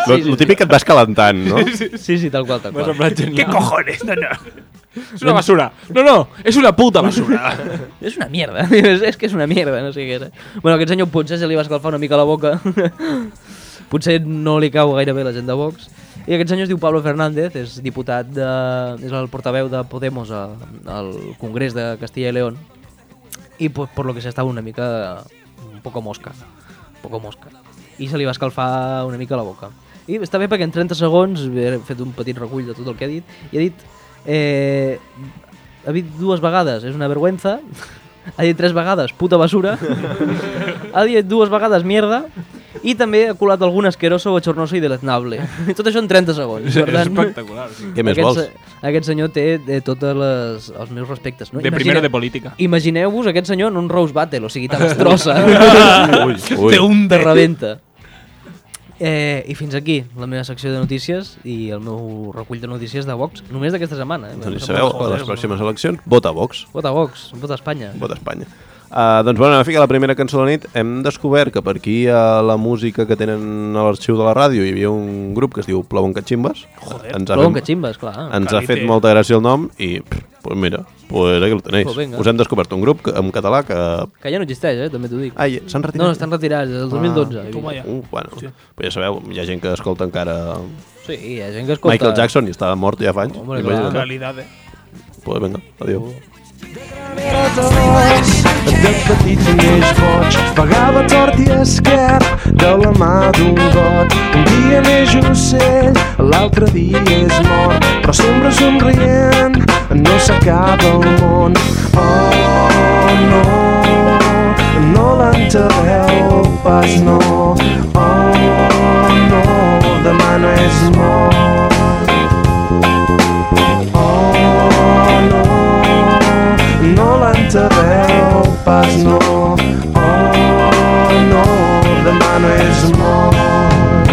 Speaker 2: Lo, lo típic que et vas calentant, no?
Speaker 4: Sí, sí, tal qual, tal
Speaker 5: M'ha
Speaker 4: qual.
Speaker 5: semblat genial.
Speaker 3: ¿Qué cojones? No, no.
Speaker 5: És una basura. No, no, és una puta basura.
Speaker 4: És una mierda, és, és que és una mierda, no sé què era. Bueno, aquest senyor potser se li va escalfar una mica la boca. potser no li cau gaire bé la gent de Vox. I aquest senyor es diu Pablo Fernández, és diputat de... és el portaveu de Podemos a, al Congrés de Castilla i León. I pues, por lo que se estava una mica... un poco mosca. Un poco mosca. I se li va escalfar una mica la boca. I està bé perquè en 30 segons he fet un petit recull de tot el que ha dit i ha dit... Eh, ha dit dues vegades, és una vergüenza. Ha dit tres vegades, puta basura. ha dit dues vegades, mierda. I també ha colat algun asqueroso, bochornoso i deleznable. Tot això en 30 segons.
Speaker 5: és
Speaker 4: Per tant,
Speaker 5: espectacular. Sí.
Speaker 2: Què més
Speaker 4: aquest,
Speaker 2: vols?
Speaker 4: se- Aquest senyor té de totes les, els meus respectes. No?
Speaker 5: De primero de política.
Speaker 4: Imagineu-vos aquest senyor en un Rose Battle, o sigui, te destrossa.
Speaker 2: Ui, ui.
Speaker 3: Te hunde.
Speaker 4: de rebenta. Eh, I fins aquí la meva secció de notícies i el meu recull de notícies de Vox, només d'aquesta setmana. Eh?
Speaker 2: Doncs ja sabeu, a les pròximes eleccions, vota Vox,
Speaker 4: Vota Vox, vota Espanya.
Speaker 2: vota Espanya. Uh, doncs bueno, anem a ficar la primera cançó de la nit. Hem descobert que per aquí a la música que tenen a l'arxiu de la ràdio hi havia un grup que es diu Plavon Cachimbas. Joder, ens
Speaker 4: Plou que
Speaker 2: fet,
Speaker 4: ximbes, clar.
Speaker 2: ens ha fet
Speaker 3: Calite.
Speaker 2: molta gràcia el nom i, pff, pues mira, pues aquí el tenéis.
Speaker 4: Pues venga.
Speaker 2: Us hem descobert un grup que, en català que...
Speaker 4: Que ja no existeix, eh? també t'ho dic.
Speaker 2: Ai, s'han retirat?
Speaker 4: No, estan retirats, des del 2012.
Speaker 3: Toma
Speaker 4: Ah,
Speaker 3: ja.
Speaker 2: Uh, bueno, pues ja sabeu, hi ha gent que escolta encara
Speaker 4: sí, hi ha gent que escolta...
Speaker 2: Michael Jackson i estava mort ja fa anys.
Speaker 4: Hombre,
Speaker 2: Imagina't.
Speaker 4: clar.
Speaker 3: Realidad, eh.
Speaker 2: Pues vinga, adéu.
Speaker 7: de petit neix boig, vagava tort i esquerp de la mà d'un got. Un dia neix ocell, l'altre dia és mort, però sempre somrient no s'acaba el món. Oh, no, no l'enterreu pas, no. Oh, no, demà no és mort. Oh, no, no l'enterreu pas, no. Oh, no, demà no és mort.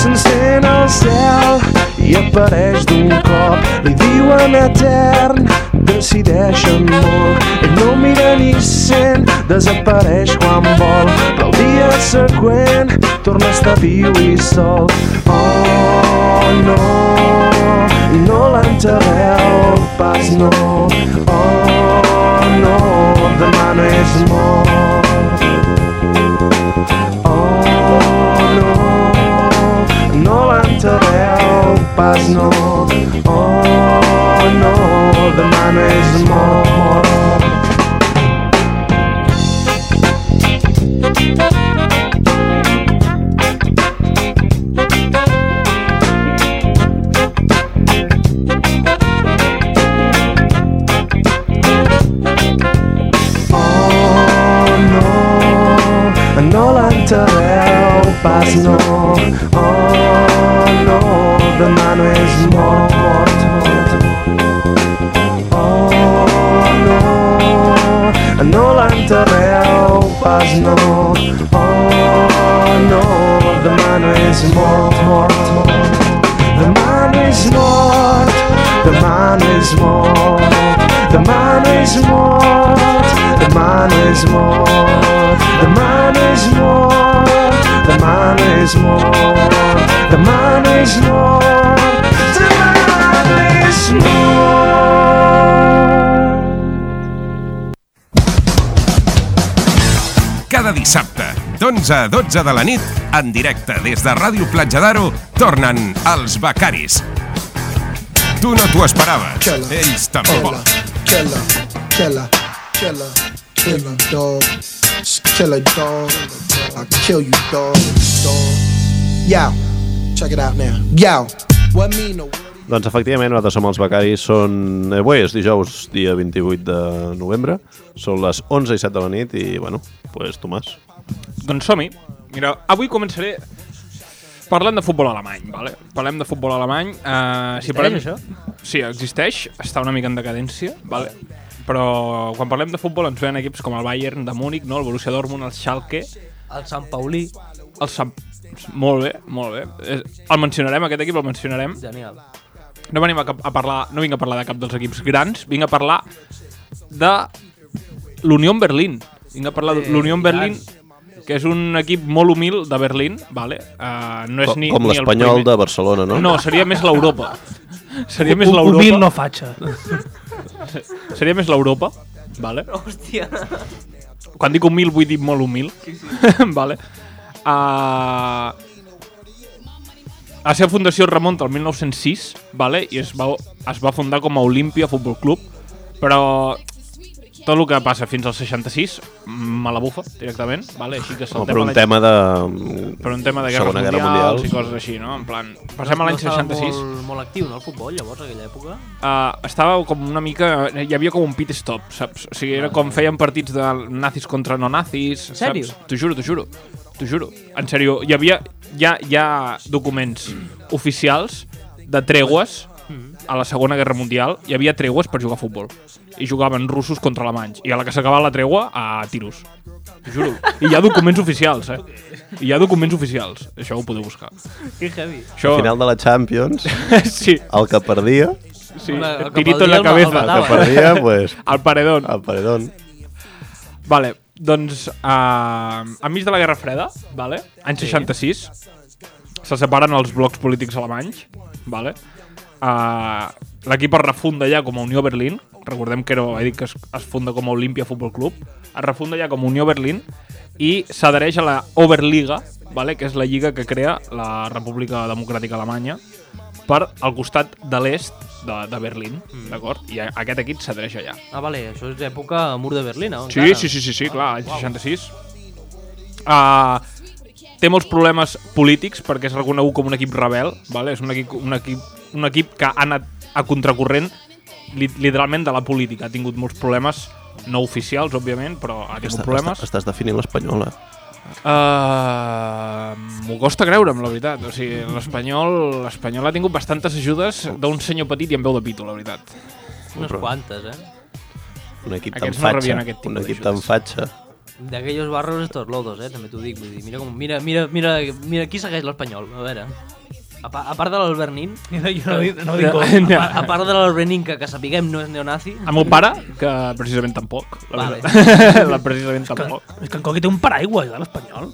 Speaker 7: S'encén el cel i apareix d'un cop. Li diuen etern, decideixen molt. Ell no mira ni sent, desapareix quan vol. Però el dia següent torna a estar viu i sol. Oh, no, no l'enterreu pas, no. Oh, no, demà no és mort. Oh, no, no l'enterreu pas, no. Oh, no, demà no és mort. Oh, no, no l'enterreu pas, no. Oh, no, demà no és mort. Oh, no, no l'enterreu pas, no. Oh, no, demà no és mort, mort, mort. Demà no és mort, demà no és mort, demà no és mort, demà no és mort, demà no és mort, demà no és mort, demà no és mort, demà no és mort.
Speaker 1: Cada dissabte, d'11 a 12 de la nit, en directe des de Ràdio Platja d'Aro, tornen els becaris. Tu no t'ho esperaves,
Speaker 8: Hola.
Speaker 1: ells
Speaker 8: Killer,
Speaker 1: tampoc.
Speaker 8: killer, killer, killer, killer dog, killer dog. I'll kill you, dog, dog. Yo, check it out now. Yo, what mean the world?
Speaker 2: Doncs efectivament, nosaltres som els becaris, són... eh, Avui és dijous, dia 28 de novembre, són les 11 i 7 de la nit i, bueno, pues, Tomàs.
Speaker 5: Doncs som-hi. Mira, avui començaré parlant de futbol alemany, vale? Parlem de futbol alemany. Uh, si
Speaker 4: Existeix,
Speaker 5: parlem...
Speaker 4: això?
Speaker 5: Sí, existeix. Està una mica en decadència, vale? Però quan parlem de futbol ens venen equips com el Bayern de Múnich, no? el Borussia Dortmund, el Schalke,
Speaker 4: El Sant Paulí,
Speaker 5: el Sant... Molt bé, molt bé. És- El mencionarem, aquest equip el mencionarem.
Speaker 4: genial.
Speaker 5: No venim a, cap, a parlar, no vinc a parlar de cap dels equips grans, vinc a parlar de l'Unió en Berlín. Vinc a parlar de l'Unió en Berlín, que és un equip molt humil de Berlín, vale? Uh, no és
Speaker 2: Com,
Speaker 5: ni,
Speaker 2: com
Speaker 5: ni el
Speaker 2: l'Espanyol
Speaker 5: primer-
Speaker 2: de Barcelona, no?
Speaker 5: No, seria més l'Europa. Seria més l'Europa.
Speaker 3: Humil no fatxa.
Speaker 5: Seria més l'Europa, vale?
Speaker 4: Hòstia.
Speaker 5: Quan dic humil vull dir molt humil. Sí, sí. vale. Uh, la seva fundació es remunta al 1906, vale? i es va, es va fundar com a Olímpia Futbol Club, però tot el que passa fins al 66 me la bufa directament, vale? així que
Speaker 2: no
Speaker 5: saltem
Speaker 2: per
Speaker 5: a
Speaker 2: un
Speaker 5: la-
Speaker 2: tema de...
Speaker 5: per un tema de guerres
Speaker 2: Segona
Speaker 5: mundials,
Speaker 2: Guerra
Speaker 5: i
Speaker 2: Mundial.
Speaker 5: coses així, no? En plan, passem a l'any
Speaker 4: estava
Speaker 5: 66.
Speaker 4: Molt, molt actiu, no, el futbol, llavors, aquella època?
Speaker 5: uh, estava com una mica... Hi havia com un pit stop, saps? O sigui, era com feien partits de nazis contra no nazis,
Speaker 4: Ah, En sèrio?
Speaker 5: saps? T'ho juro, t'ho juro. T'ho juro. En sèrio, hi havia... Hi ha, hi ha documents oficials de tregues
Speaker 4: Mm-hmm.
Speaker 5: a la Segona Guerra Mundial hi havia treues per jugar a futbol i jugaven russos contra alemanys i a la que s'acabava la tregua a tiros T'ho juro. I hi ha documents oficials, eh? I hi ha documents oficials. Això ho podeu buscar.
Speaker 4: Que heavy.
Speaker 5: Això...
Speaker 2: Al final de la Champions,
Speaker 5: sí,
Speaker 2: el que perdia,
Speaker 5: sí.
Speaker 4: Home, el que
Speaker 5: Tirito en
Speaker 4: perdia
Speaker 5: la
Speaker 4: el ma- el
Speaker 5: cabeza.
Speaker 4: matava. eh?
Speaker 2: el que perdia, pues,
Speaker 5: Al paredón.
Speaker 2: el paredón.
Speaker 5: Vale, doncs a enmig de la Guerra Freda, vale, any 66, se separen els blocs polítics alemanys, vale? Uh, L'equip es refunda ja com a Unió Berlín, recordem que era, he dit que es, es funda com a Olimpia Futbol Club, es refunda ja com a Unió Berlín i s'adhereix a la Oberliga, vale? que és la lliga que crea la República Democràtica Alemanya per al costat de l'est de, de Berlín, d'acord? I a- aquest equip s'adhereix allà.
Speaker 4: Ah, vale, això és època mur de Berlín, no?
Speaker 5: Sí, sí, sí, sí, sí clar, l'any 66. Uh, té molts problemes polítics perquè és reconegut com un equip rebel, vale? és un equip, un, equip, un equip que ha anat a contracorrent li, literalment de la política. Ha tingut molts problemes no oficials, òbviament, però ha tingut problemes.
Speaker 2: estàs definint eh? l'espanyola.
Speaker 5: Uh, M'ho costa creure'm, la veritat. O sigui, l'Espanyol l'Espanyol ha tingut bastantes ajudes d'un senyor petit i amb veu de pito, la veritat.
Speaker 4: Unes quantes, eh?
Speaker 2: Un equip tan
Speaker 5: Aquests no
Speaker 2: fatxa.
Speaker 5: rebien aquest tipus
Speaker 2: un equip
Speaker 5: d'ajudes.
Speaker 2: tan fatxa.
Speaker 4: D'aquells barros estos lodos, eh? També t'ho dic, vull dir, mira com... Mira, mira, mira, mira qui segueix l'Espanyol, a veure. A, pa, a part de l'Albernin,
Speaker 3: Jo no, jo no, dic- no dic
Speaker 5: eh, No. Ah,
Speaker 3: com.
Speaker 4: a, pa- a part de l'Albernin, que, que sapiguem no és neonazi,
Speaker 5: El meu pare, que precisament tampoc. La
Speaker 4: Vale.
Speaker 5: veritat. la precisament tampoc.
Speaker 3: És que en Coqui té un paraigua, eh, l'Espanyol.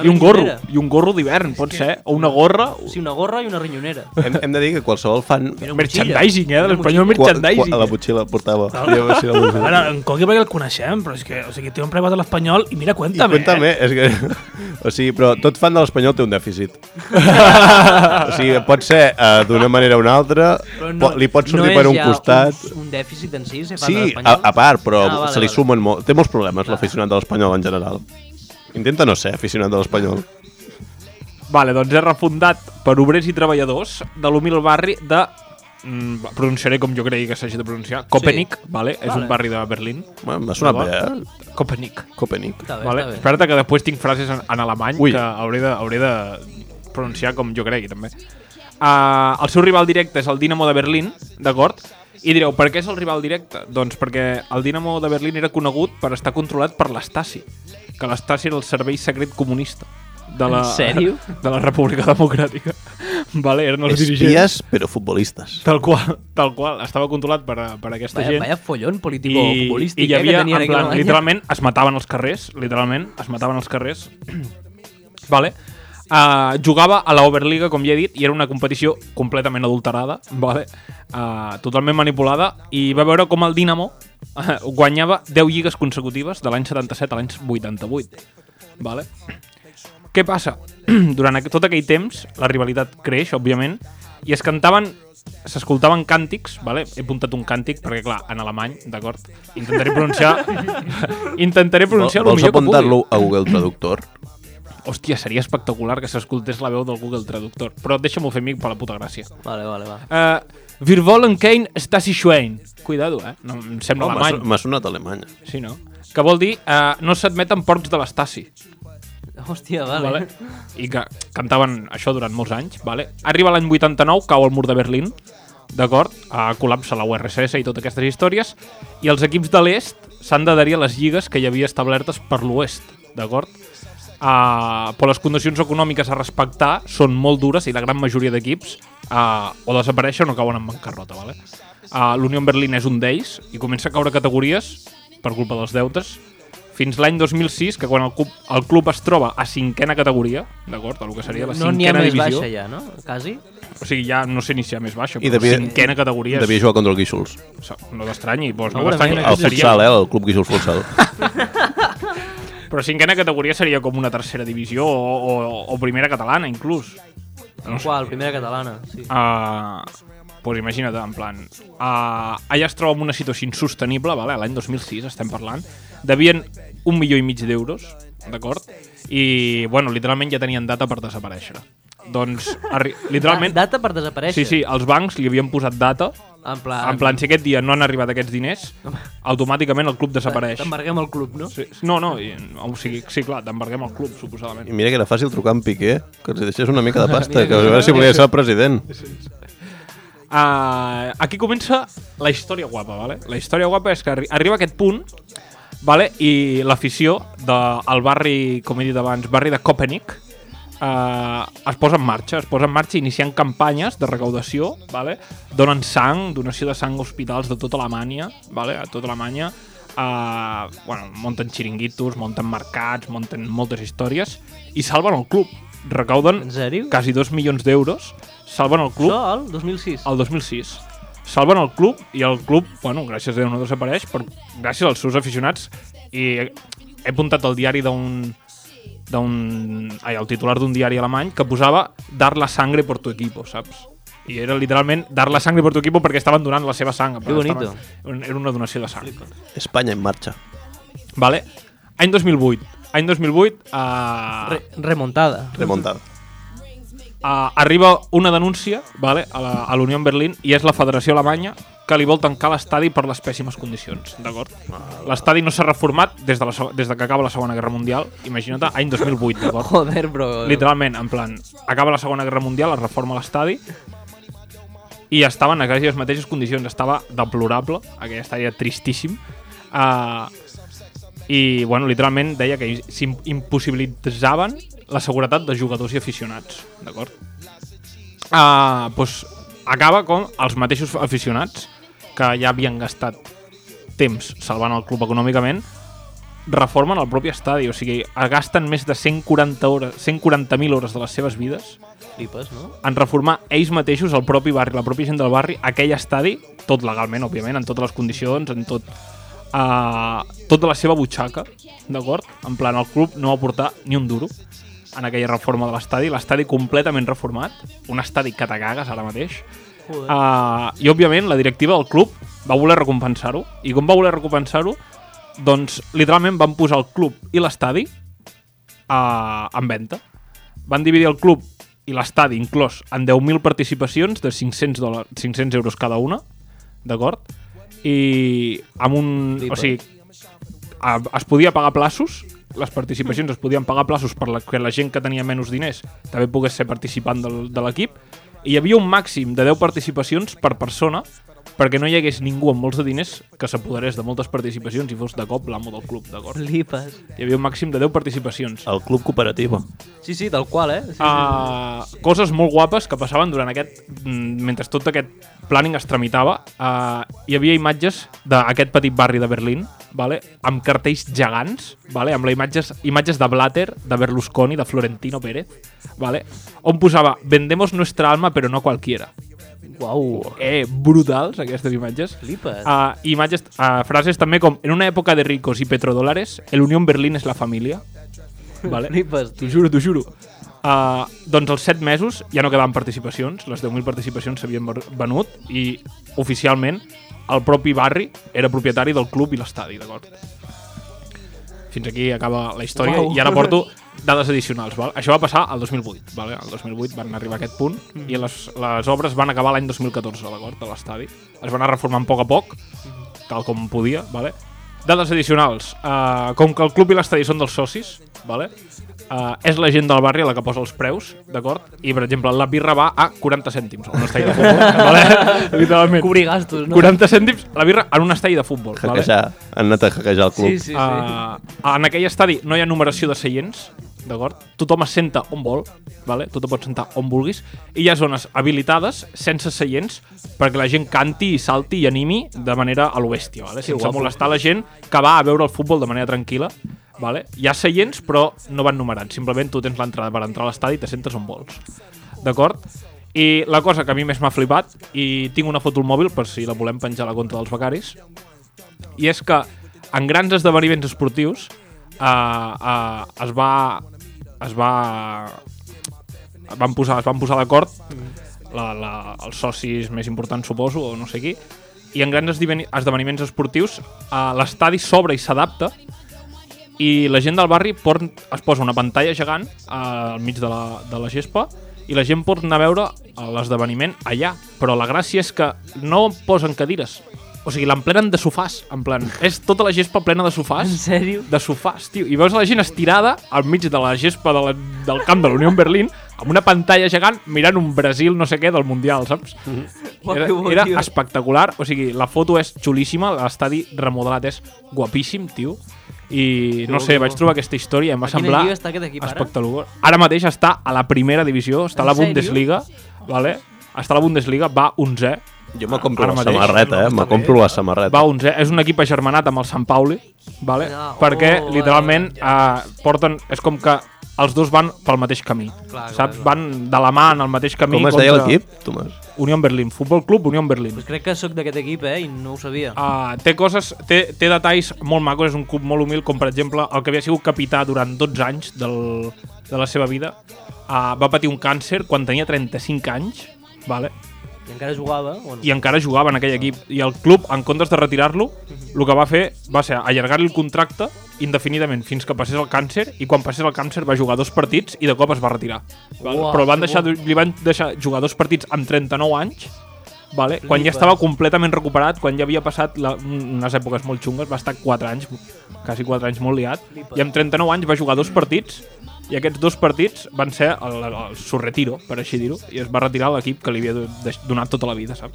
Speaker 5: I un gorro,
Speaker 4: rinyonera.
Speaker 5: i un gorro d'hivern, pot ser. O una gorra. o-
Speaker 4: Sí, una gorra i una rinyonera.
Speaker 2: Hem, hem de dir que qualsevol fan...
Speaker 4: Era una motxilla.
Speaker 5: Merchandising, eh? De
Speaker 4: Una
Speaker 5: l'espanyol
Speaker 2: Qua, qua,
Speaker 5: merchandising.
Speaker 2: a la motxilla portava. Jo vaig ser al·lucinant.
Speaker 3: A veure, en Coqui perquè el coneixem, però és que, o sigui, té un paraigua de l'Espanyol i mira, eh?
Speaker 2: I
Speaker 3: cuéntame.
Speaker 2: cuéntame, és que... O sigui, però tot fan de l'espanyol té un dèficit. o sigui, pot ser eh, d'una manera o una altra,
Speaker 4: Però
Speaker 2: po- li pot sortir per
Speaker 4: és
Speaker 2: un
Speaker 4: ja
Speaker 2: costat...
Speaker 4: Un, un dèficit en si, ser fan de
Speaker 2: Sí, a,
Speaker 4: l'Espanyol.
Speaker 2: a part, però
Speaker 4: Ah, vale,
Speaker 2: se li
Speaker 4: vale.
Speaker 2: sumen molt. Té molts problemes l'aficionat de l'Espanyol en general. Intenta no ser aficionat de l'Espanyol.
Speaker 5: Vale, doncs és refundat per obrers i treballadors de l'humil barri de... Mm, va, pronunciaré com jo creia que s'hagi de pronunciar. Kopenick, vale? És un barri de Berlín.
Speaker 2: Bueno, M'ha sonat bé,
Speaker 5: D'acord.
Speaker 2: eh?
Speaker 5: Kopenick.
Speaker 2: Copenhague.
Speaker 4: Està bé,
Speaker 5: Vale?
Speaker 4: està bé.
Speaker 5: Espera't que després tinc frases en, en alemany
Speaker 2: Ui.
Speaker 5: que hauré de, hauré de pronunciar com jo cregui, també. Uh, el seu rival directe és el Dinamo de Berlín, d'acord? I direu, per què és el rival directe? Doncs perquè el Dinamo de Berlín era conegut per estar controlat per l'Estasi, que l'Estasi era el servei secret comunista de la,
Speaker 4: En sèrio?
Speaker 5: de la República Democràtica. Vale, eren els dirigents.
Speaker 2: Espies, però futbolistes.
Speaker 5: Tal qual, tal qual. Estava controlat per, per aquesta
Speaker 4: Vaya,
Speaker 5: gent
Speaker 4: vaya follón
Speaker 5: i,
Speaker 4: político
Speaker 5: i
Speaker 4: futbolístic
Speaker 5: hi
Speaker 4: eh, que
Speaker 5: havia,
Speaker 4: tenien
Speaker 5: en
Speaker 4: aquí a
Speaker 5: plan,
Speaker 4: Alemanya.
Speaker 5: literalment es mataven als carrers, literalment, es mataven als carrers. vale. Uh, jugava a la Oberliga, com ja he dit, i era una competició completament adulterada, vale? uh, totalment manipulada, i va veure com el Dinamo eh, guanyava 10 lligues consecutives de l'any 77 a l'any 88. Vale? Què passa? Durant aqu- tot aquell temps, la rivalitat creix, òbviament, i es cantaven s'escoltaven càntics, vale? he apuntat un càntic perquè clar, en alemany, d'acord intentaré pronunciar intentaré pronunciar el
Speaker 2: Vols
Speaker 5: millor que pugui
Speaker 2: apuntar-lo a Google Traductor?
Speaker 5: hòstia, seria espectacular que s'escoltés la veu del Google Traductor però deixa'm-ho fer mic per la puta gràcia
Speaker 4: Vale, vale, va.
Speaker 5: uh, Wir wollen kein Stasi Schwein cuidado, eh, no, em sembla
Speaker 2: No, m'ha
Speaker 5: alemany
Speaker 2: so- M'ha sonat alemanya.
Speaker 5: sí, no? que vol dir uh, no s'admeten porcs de l'Estasi
Speaker 4: Hòstia, vale.
Speaker 5: vale? I que cantaven això durant molts anys. Vale? Arriba l'any 89, cau el mur de Berlín, d'acord? A col·lapsa la URSS i totes aquestes històries, i els equips de l'est s'han d'adherir a les lligues que hi havia establertes per l'oest, d'acord? Uh, però les condicions econòmiques a respectar són molt dures i la gran majoria d'equips uh, o desapareixen o cauen en bancarrota. Vale? Uh, L'Unió en Berlín és un d'ells i comença a caure categories per culpa dels deutes fins l'any 2006, que quan el club, el club es troba a cinquena categoria, d'acord? El que seria la
Speaker 4: No n'hi ha
Speaker 5: cinquena
Speaker 4: més
Speaker 5: divisió.
Speaker 4: baixa ja, no? Quasi?
Speaker 5: O sigui, ja no sé ni si hi ha més baixa,
Speaker 2: I
Speaker 5: però
Speaker 2: devia-
Speaker 5: cinquena categoria
Speaker 2: Devia
Speaker 5: és...
Speaker 2: jugar contra el Guíxols.
Speaker 5: No t'estranyi, doncs no
Speaker 4: Segurament
Speaker 5: t'estranyi.
Speaker 2: El futsal, eh? El club Guíxols futsal.
Speaker 5: Però cinquena categoria seria com una tercera divisió o, o, o primera catalana, inclús. No sé.
Speaker 4: Qual? Primera catalana, sí.
Speaker 5: Uh, pues imagina't, en plan... Uh, allà es troba en una situació insostenible, vale? l'any 2006 estem parlant. Devien un milió i mig d'euros, d'acord? I, bueno, literalment ja tenien data per desaparèixer. Doncs, arri- literalment...
Speaker 4: Da- Ah, Data per desaparèixer. Ah.
Speaker 5: Sí, sí, els bancs li havien posat data.
Speaker 4: En plan...
Speaker 5: En plan, si aquest dia no han arribat aquests diners, automàticament el club desapareix.
Speaker 4: T'embarguem el club, no?
Speaker 5: Sí, no, no, i, o sigui, sí, clar, t'embarguem al club, suposadament.
Speaker 2: I mira que era fàcil trucar en Piqué, que els hi deixés una mica de pasta, que a veure si volia ser el president.
Speaker 5: Uh, aquí comença la història guapa, vale? La història guapa és que arri arriba aquest punt vale? i l'afició del barri, com he dit abans, barri de Copenhague, uh, es posa en marxa, es posa en marxa iniciant campanyes de recaudació, vale? donen sang, donació de sang a hospitals de tota Alemanya, vale? a tota Alemanya, uh, bueno, munten xiringuitos, munten mercats, munten moltes històries i salven el club. Recauden
Speaker 4: En sèrio?
Speaker 5: quasi dos milions d'euros, salven el club
Speaker 4: Sol, 2006.
Speaker 5: el 2006. Salven el club i el club, bueno, gràcies a Déu no desapareix, però gràcies als seus aficionats i he apuntat al diari d'un d'un... Ai, el titular d'un diari alemany que posava dar la sangre por tu equipo, saps? I era literalment dar la sangre por tu equipo perquè estaven donant la seva sang.
Speaker 4: Que bonito.
Speaker 5: Estaven- Era una donació de sang.
Speaker 2: Espanya en marxa.
Speaker 5: Vale? Any 2008. Any 2008 eh,
Speaker 4: Re remuntada.
Speaker 2: Remontada.
Speaker 5: uh, arriba una denúncia vale, a la- a l'Unió en Berlín i és la Federació Alemanya que li vol tancar l'estadi per les pèssimes condicions, d'acord? L'estadi no s'ha reformat des de, la, seg- des de que acaba la Segona Guerra Mundial, imagina't, any 2008, d'acord?
Speaker 4: Joder, bro.
Speaker 5: Literalment, en plan, acaba la Segona Guerra Mundial, es reforma l'estadi i estava en aquelles mateixes condicions, estava deplorable, aquell estadi era tristíssim. Uh, i, bueno, literalment deia que s'im- impossibilitzaven la seguretat de jugadors i aficionats, d'acord? Uh, doncs acaba com els mateixos aficionats que ja havien gastat temps salvant el club econòmicament reformen el propi estadi, o sigui, gasten més de 140 hores, 140.000 hores de les seves vides
Speaker 4: Flipes, no?
Speaker 5: en reformar ells mateixos el propi barri, la pròpia gent del barri, aquell estadi, tot legalment, òbviament, en totes les condicions, en tot... Uh, tota la seva butxaca, d'acord? En plan, el club no va aportar ni un duro en aquella reforma de l'estadi, l'estadi completament reformat, un estadi que te cagues ara mateix,
Speaker 4: Joder.
Speaker 5: Uh, I, òbviament, la directiva del club va voler recompensar-ho. I com va voler recompensar-ho? Doncs, literalment, van posar el club i l'estadi uh, en venda. Van dividir el club i l'estadi, inclòs, en 10.000 participacions de 500, dòlar, 500 euros cada una, d'acord? I amb un...
Speaker 4: Flipa.
Speaker 5: O sigui, a, es podia pagar plaços, les participacions es podien pagar plaços per la, que la gent que tenia menys diners també pogués ser participant del, de l'equip, i hi havia un màxim de 10 participacions per persona perquè no hi hagués ningú amb molts de diners que s'apoderés de moltes participacions i fos de cop l'amo del club, d'acord?
Speaker 4: Flipes.
Speaker 5: Hi havia un màxim de 10 participacions.
Speaker 2: El club cooperativa.
Speaker 4: Sí, sí, del qual, eh? Sí, sí.
Speaker 5: Uh, coses molt guapes que passaven durant aquest... mm, mentre tot aquest planning es tramitava, uh, hi havia imatges d'aquest petit barri de Berlín, vale? amb cartells gegants, vale? amb les imatges, imatges de Blatter, de Berlusconi, de Florentino Pérez, vale? on posava «Vendemos nuestra alma, però no cualquiera».
Speaker 4: Uau.
Speaker 5: Eh, brutals, aquestes imatges.
Speaker 4: Flipes.
Speaker 5: Uh, imatges, uh, frases també com «En una època de ricos i petrodòlares, el Unión Berlín és la família». Vale?
Speaker 4: Flipes.
Speaker 5: T'ho juro, t'ho juro. Uh, doncs als 7 mesos ja no quedaven participacions, les 10.000 participacions s'havien ver- venut i oficialment el propi barri era propietari del club i l'estadi, d'acord? Fins aquí acaba la història
Speaker 4: Uau.
Speaker 5: i ara porto dades adicionals. Val? Això va passar al 2008. Vale? El 2008 van arribar a aquest punt i les, les obres van acabar l'any 2014, d'acord, de l'estadi. Es van anar reformant a poc a poc, tal com Eh, podia. Vale? Dades adicionals. Uh, com que el club i l'estadi són dels socis, vale? eh, és la gent del barri la que posa els preus, d'acord? I, per exemple, la birra va a 40 cèntims a un estall de futbol, vale? literalment.
Speaker 4: Cobrir gastos, no?
Speaker 5: 40 cèntims la birra en un estall de futbol, vale?
Speaker 2: Hackejar. Han anat a hackejar el club.
Speaker 4: Sí, sí, sí.
Speaker 5: Uh, en aquell estadi no hi ha numeració de seients, d'acord? Tothom es senta on vol, vale? tu te pots sentar on vulguis, i hi ha zones habilitades, sense seients, perquè la gent canti i salti i animi de manera a l'oestia, vale? sense
Speaker 4: guapo.
Speaker 5: molestar la gent que va a veure el futbol de manera tranquil·la. Vale? Hi ha seients, però no van numerant. Simplement tu tens l'entrada per entrar a l'estadi i te sentes on vols. D'acord? I la cosa que a mi més m'ha flipat, i tinc una foto al mòbil per si la volem penjar a la conta dels becaris, i és que en grans esdeveniments esportius eh, eh, es va es va van posar, es van posar d'acord la, la, els socis més importants suposo o no sé qui i en grans esdeveni- esdeveniments esportius eh, l'estadi s'obre i s'adapta i la gent del barri por, es posa una pantalla gegant eh, al mig de la, de la gespa i la gent pot anar a veure eh, l'esdeveniment allà. Però la gràcia és que no posen cadires. O sigui, l'emplenen de sofàs, en plan. És tota la gespa plena de sofàs.
Speaker 4: En sèrio?
Speaker 5: De sofàs, tio. I veus la gent estirada al mig de la gespa de la, del camp de la Unió en Berlín amb una pantalla gegant mirant un Brasil no sé què del Mundial, saps?
Speaker 4: Uau,
Speaker 5: Era,
Speaker 4: que bo,
Speaker 5: era
Speaker 4: tio.
Speaker 5: espectacular, o sigui, la foto és xulíssima, l'estadi remodelat és guapíssim, tio. I no
Speaker 4: bo,
Speaker 5: sé,
Speaker 4: que bo.
Speaker 5: vaig trobar aquesta història i em va
Speaker 4: A quina
Speaker 5: semblar
Speaker 4: lliga està aquest equip ara?
Speaker 5: espectacular. Ara mateix està a la primera divisió, està a la
Speaker 4: En sèrio?
Speaker 5: Bundesliga, vale? està a la Bundesliga, va 11
Speaker 2: Jo me compro
Speaker 5: Ara
Speaker 2: la
Speaker 5: mateix.
Speaker 2: samarreta, eh? Me compro la samarreta.
Speaker 5: va 11 és un equip agermanat amb el Sant Pauli, vale?
Speaker 4: Ah, oh,
Speaker 5: perquè
Speaker 4: vale.
Speaker 5: literalment eh, porten, és com que els dos van pel mateix camí,
Speaker 4: Clar, clar,
Speaker 5: saps?
Speaker 4: clar.
Speaker 5: Van de la mà en el mateix camí.
Speaker 2: Com es deia
Speaker 5: contra
Speaker 2: l'equip, Tomàs?
Speaker 5: Unión Berlín, Futbol Club Unión Berlín.
Speaker 4: Pues crec que sóc d'aquest equip, eh? I no ho sabia.
Speaker 5: Uh, té coses, té, té detalls molt macos, és un club molt humil, com per exemple el que havia sigut capità durant 12 anys del, de la seva vida. Uh, va patir un càncer quan tenia 35 anys, vale?
Speaker 4: I encara jugava. Bueno,
Speaker 5: i encara jugava en aquell equip. I el club, en comptes de retirar-lo, el que va fer va ser allargar-li el contracte indefinidament fins que passés el càncer i quan passés el càncer va jugar dos partits i de cop es va retirar. Vale?
Speaker 4: Uah,
Speaker 5: Però el van
Speaker 4: que
Speaker 5: deixar,
Speaker 4: bo.
Speaker 5: li van deixar jugar dos partits amb 39 anys Vale? Quan ja
Speaker 4: Flipes.
Speaker 5: estava completament recuperat, quan ja havia passat la, un- unes èpoques molt xungues, va estar 4 anys, quasi 4 anys molt liat,
Speaker 4: Flipes.
Speaker 5: i amb 39 anys va jugar dos partits, i aquests dos partits van ser el, el, su retiro, per així dir-ho, i es va retirar l'equip que li havia do- deix- donat tota la vida, saps?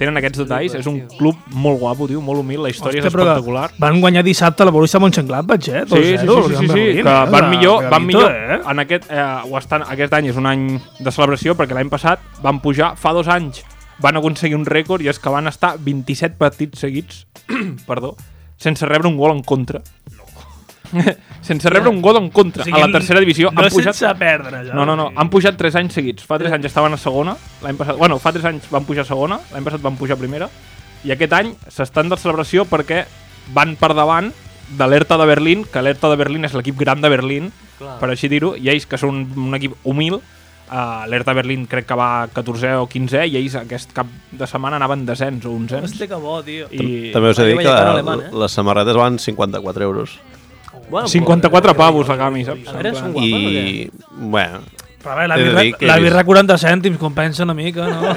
Speaker 5: Tenen aquests detalls, és un club molt guapo, tio, molt humil, la història és
Speaker 3: però
Speaker 5: espectacular.
Speaker 3: Van guanyar dissabte la Borussia Mönchengladbach, vaig, eh?
Speaker 5: Sí, sí, sí, sí, sí, sí, que van millor, van millor.
Speaker 3: Eh?
Speaker 5: En aquest, eh, o estan, aquest any és un any de celebració perquè l'any passat van pujar, fa dos anys van aconseguir un rècord i és que van estar 27 partits seguits, perdó, sense rebre un gol en contra. sense rebre un gol en contra
Speaker 3: O sigui,
Speaker 5: a la tercera divisió
Speaker 3: No
Speaker 5: han pujat
Speaker 3: sense perdre, ja.
Speaker 5: no, no, no. Han pujat 3 anys seguits. Fa 3 anys estaven a segona. L'any passat... Bueno, fa 3 anys van pujar a segona. L'any passat van pujar a primera. I aquest any s'estan de celebració perquè van per davant de l'Hertha de Berlín, que l'Hertha de Berlín és l'equip gran de Berlín,
Speaker 4: Clar.
Speaker 5: per així dir-ho, i ells, que són un equip humil, uh, l'Hertha Berlín crec que va 14è o 15è, i ells aquest cap de setmana anaven desens o 11ens.
Speaker 4: Hòstia, que bo, tio.
Speaker 5: I
Speaker 2: També us he
Speaker 4: Mario
Speaker 2: dit que
Speaker 4: Vallecano
Speaker 2: la-
Speaker 4: alemany, eh?
Speaker 2: les samarretes van 54 euros.
Speaker 4: Bueno,
Speaker 5: 54 pavos la Gami, saps?
Speaker 4: A veure,
Speaker 5: En plan-
Speaker 4: són guapos. Guapa,
Speaker 2: I, bueno,
Speaker 3: Però a veure, la
Speaker 2: He de
Speaker 3: birra,
Speaker 2: dir que
Speaker 3: la
Speaker 2: és-
Speaker 3: birra 40 cèntims, compensa una mica, no?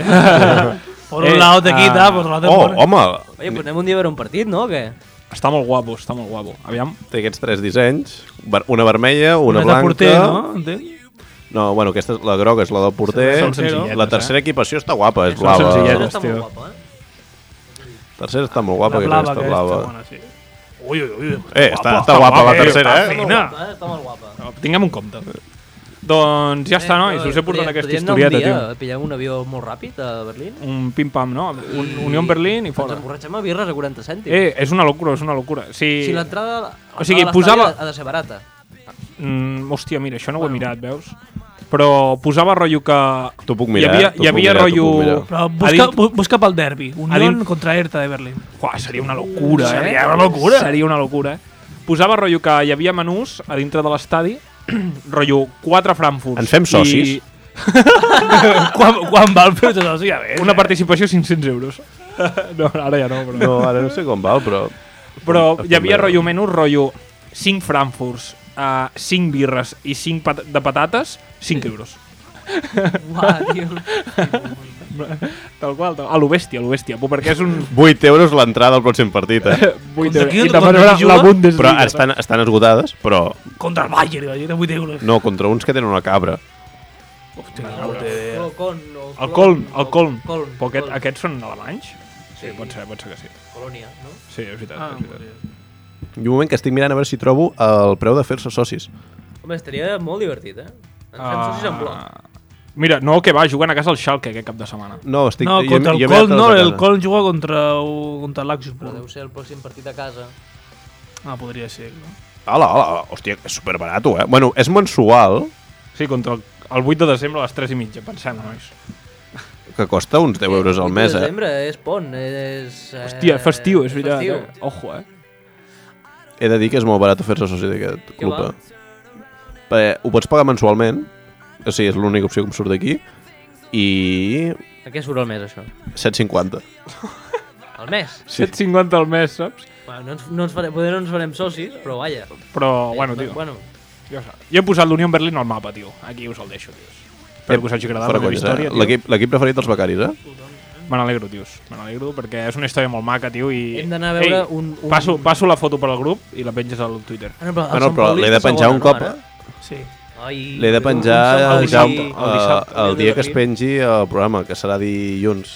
Speaker 3: Por un
Speaker 5: Eh,
Speaker 3: lado te
Speaker 5: ah.
Speaker 3: quita, por otro lado te
Speaker 2: Oh,
Speaker 3: pone.
Speaker 2: home,
Speaker 4: Oye, pues anem un dia a veure un partit, no? O què?
Speaker 5: Està molt guapo, està molt guapo. Aviam,
Speaker 2: té aquests tres dissenys. Ver- Una vermella, una,
Speaker 3: Un altre
Speaker 2: blanca...
Speaker 3: porter, no? Entenc?
Speaker 2: No, bueno, aquesta, és- la groga és la del porter.
Speaker 5: Són senzilletes,
Speaker 2: La tercera equipació està guapa, és
Speaker 5: Són
Speaker 2: blava.
Speaker 5: senzilletes.
Speaker 4: Però està
Speaker 5: tio.
Speaker 4: molt guapa, eh?
Speaker 2: La tercera està molt guapa,
Speaker 3: La
Speaker 2: aquesta,
Speaker 3: blava
Speaker 2: està
Speaker 3: aquesta,
Speaker 2: blava.
Speaker 3: bona, sí. Ui, ui, ui.
Speaker 2: Eh, està, està guapa la tercera, eh?
Speaker 3: està fina.
Speaker 4: Molt guapa, eh? Està molt guapa.
Speaker 5: tinguem un compte. Doncs ja
Speaker 4: Eh,
Speaker 3: Eh,
Speaker 5: està, nois, us he portat aquesta historieta, tio.
Speaker 4: tio. Pillem un avió molt ràpid a Berlín.
Speaker 5: un pim-pam, no? Un, Unió en Berlín i fora.
Speaker 4: Ens emborratxem a birres a 40 cèntims.
Speaker 5: Eh, és una locura, és una locura. Si...
Speaker 4: Si l'entrada l'entrada
Speaker 5: O sigui,
Speaker 4: a l'estadi
Speaker 5: posava-
Speaker 4: ha de ser barata.
Speaker 5: Mm, hòstia, mira, això no ho he mirat, veus? Però posava rotllo que...
Speaker 2: T'ho puc mirar,
Speaker 5: Hi havia,
Speaker 2: t'ho
Speaker 5: hi
Speaker 2: puc
Speaker 5: havia
Speaker 2: mirar, t'ho puc
Speaker 5: rotllo...
Speaker 2: mirar.
Speaker 3: Però
Speaker 5: Ha
Speaker 3: busca,
Speaker 5: dit...
Speaker 3: bu- busca pel derbi. Unión
Speaker 5: dit-
Speaker 3: contra Hertha de Berlín.
Speaker 5: Uah, seria una locura, eh?
Speaker 3: Seria una locura.
Speaker 5: Seria una locura, eh? Posava rotllo que hi havia menús a dintre de l'estadi, rotllo 4 Frankfurts.
Speaker 2: Ens fem socis?
Speaker 5: I
Speaker 3: quan, quan val per tot això, ja ves.
Speaker 5: una participació 500 euros. no, ara ja no, però...
Speaker 2: No, ara no sé com va, però...
Speaker 5: Però hi havia
Speaker 2: Efemera.
Speaker 5: rotllo menys, rotllo 5 frankfurts, uh, 5 birres i 5 pat de patates, 5 euros.
Speaker 4: Uah, tio.
Speaker 5: Està tal qual. Tal... A lo bèstia, a lo bèstia. Però perquè és un...
Speaker 2: 8 euros l'entrada al pròxim partit, eh?
Speaker 5: Vull
Speaker 3: Contra
Speaker 5: dir,
Speaker 3: qui-
Speaker 5: I te'n vas
Speaker 3: contra
Speaker 5: a veure
Speaker 3: qui
Speaker 5: la
Speaker 3: juga?
Speaker 5: Bundesliga.
Speaker 2: Però estan, estan esgotades, però
Speaker 3: Contra el Bayern, iba a decir, de 8 euros.
Speaker 2: no, contra uns que tenen una cabra.
Speaker 3: Hòstia, no té idea.
Speaker 4: El Colm. o
Speaker 5: El Colm, el Colm.
Speaker 4: Colm,
Speaker 5: Però aquest,
Speaker 4: Colm.
Speaker 5: aquests són alemanys? Sí,
Speaker 4: Sí.
Speaker 5: pot ser, pot ser que sí.
Speaker 4: Colònia, no?
Speaker 5: Sí, és veritat.
Speaker 3: Ah,
Speaker 5: és veritat.
Speaker 2: I un moment que estic mirant a veure si trobo el preu de fer-se socis.
Speaker 4: Home, estaria molt divertit, eh?
Speaker 5: Ah.
Speaker 4: Ens fem socis en bloc.
Speaker 5: Mira, no, que va, jugant a casa el Schalke aquest cap de setmana.
Speaker 2: No, estic...
Speaker 3: No,
Speaker 2: jo-
Speaker 3: contra
Speaker 2: jo
Speaker 3: el
Speaker 2: he mirat
Speaker 3: Colm, no,
Speaker 2: les
Speaker 3: el
Speaker 2: ganes.
Speaker 3: Colm juga contra, u- contra l'Axus,
Speaker 4: Però
Speaker 3: però...
Speaker 4: deu ser el pròxim partit a casa.
Speaker 3: Ah, podria ser, no?
Speaker 2: Hola, hola, hola. Hòstia, és superbarato, eh? Bueno, és mensual,
Speaker 5: Sí, contra el, el 8 de desembre a les 3 i mitja, pensem, nois.
Speaker 2: que costa uns 10 euros al mes,
Speaker 4: eh?
Speaker 2: eh?
Speaker 4: desembre és pont, és... eh,
Speaker 5: Hòstia, festiu, és veritat.
Speaker 4: Festiu.
Speaker 5: eh? Ojo, eh?
Speaker 2: He de dir que és molt barat fer-se soci d'aquest
Speaker 4: Que
Speaker 2: club.
Speaker 4: val.
Speaker 2: Eh? Perquè ho pots pagar mensualment, o sigui, és l'única opció que em surt d'aquí, i
Speaker 4: A què surt el mes, això?
Speaker 2: 7,50.
Speaker 4: El mes?
Speaker 5: Sí. 7,50 al mes, saps?
Speaker 4: Bueno, no ens, no ens farem, poder no ens farem socis, però vaja. Eh,
Speaker 5: Però, Ah, bueno, tio, bueno.
Speaker 4: Bueno,
Speaker 5: Jo, sa- jo he posat l'Unió Berlín al mapa, tio. Aquí us el deixo, tios. Espero que us hagi agradat
Speaker 2: Fora
Speaker 5: la meva
Speaker 2: conyes, eh?
Speaker 5: història, tio.
Speaker 2: L'equip l'equip preferit dels becaris, eh?
Speaker 5: Me n'alegro, tios. Me n'alegro perquè és una història molt maca, tio, i...
Speaker 4: Hem d'anar a veure
Speaker 5: Ei,
Speaker 4: un- un-
Speaker 5: Passo, passo la foto per al grup i la penges al Twitter.
Speaker 4: ah, no, però, el
Speaker 2: Bueno,
Speaker 4: Sant
Speaker 2: però
Speaker 4: Paulí
Speaker 2: l'he
Speaker 4: està
Speaker 2: de penjar
Speaker 4: segon,
Speaker 2: un cop,
Speaker 4: ara?
Speaker 2: eh?
Speaker 3: Sí.
Speaker 4: Ai,
Speaker 5: eh?
Speaker 2: L'he de
Speaker 4: un-
Speaker 2: penjar
Speaker 4: un Sant
Speaker 2: ja
Speaker 5: dissabte,
Speaker 4: Paulí.
Speaker 5: el dissabte.
Speaker 2: eh, el dia que es pengi el programa, que serà dilluns.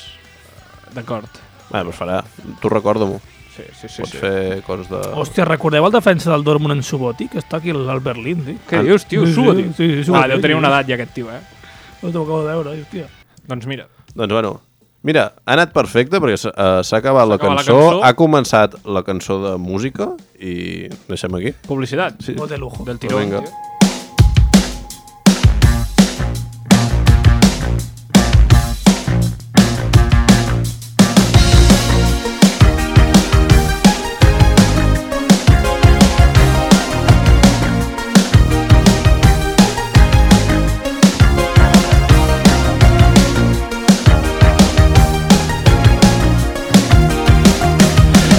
Speaker 5: D'acord.
Speaker 2: Bé, doncs farà. Tu recorda-m'ho.
Speaker 5: Sí, sí, sí.
Speaker 2: Pots
Speaker 5: sí.
Speaker 2: fer coses de...
Speaker 3: Hòstia, recordeu el defensa del Dortmund en Suboti, que està aquí al Berlín, tio?
Speaker 5: Què dius, tio?
Speaker 3: Ah. Sí, sí,
Speaker 5: Suba, tio.
Speaker 3: sí, sí,
Speaker 5: ah,
Speaker 3: suba,
Speaker 5: deu
Speaker 3: tio.
Speaker 5: tenir una edat ja aquest tio, eh?
Speaker 3: No t'ho acabo de veure, eh, hòstia.
Speaker 5: Doncs mira,
Speaker 2: Doncs bueno, mira, ha anat perfecte perquè s'ha eh, s'ha acabat la
Speaker 5: acabat la
Speaker 2: cançó,
Speaker 5: cançó.
Speaker 2: ha començat la cançó de música i deixem aquí.
Speaker 5: publicitat.
Speaker 2: Sí.
Speaker 3: Vot de lujo.
Speaker 5: Del tiró.
Speaker 2: Però vinga.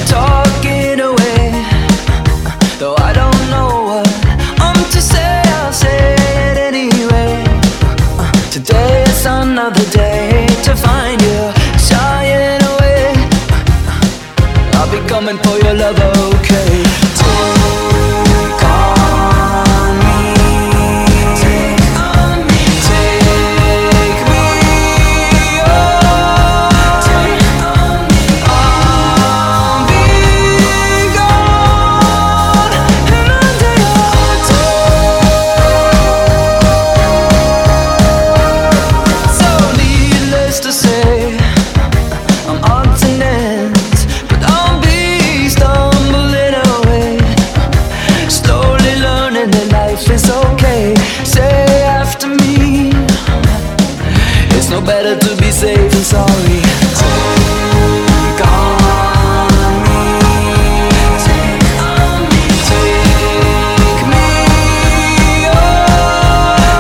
Speaker 7: talking away. Though I don't know what I'm to say, I'll say it anyway. Today is another day to find you shying away. I'll be coming for your love, okay? Take on me. Take on me. Take me on. Take on me. I'll be gone in a day or two. So needless to say, I'm odds and ends, but I'll be stumbling away, slowly learning that life is okay. Say after me, it's no better to be safe than sorry. Take on me, take on me, take me on.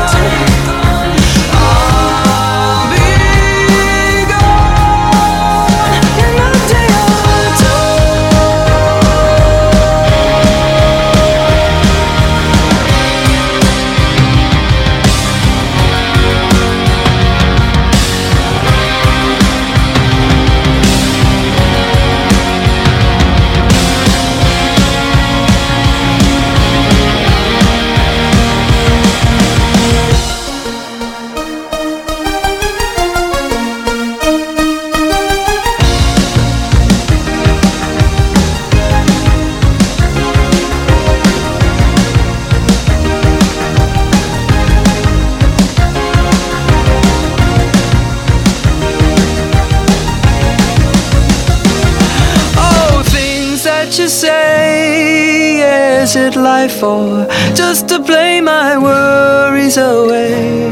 Speaker 7: I'll be gone in a day or two. Oh, things that you say. Is it life or just to play my worries away?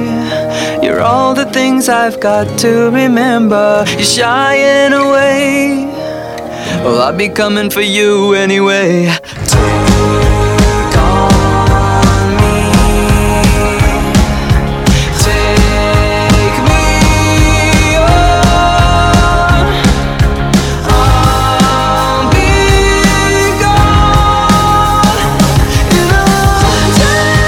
Speaker 7: You're all the things I've got to remember. You're shying away. Well, I'll be coming for you anyway. Take on me. Take me on. I'll be gone in a day.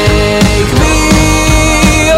Speaker 7: Take me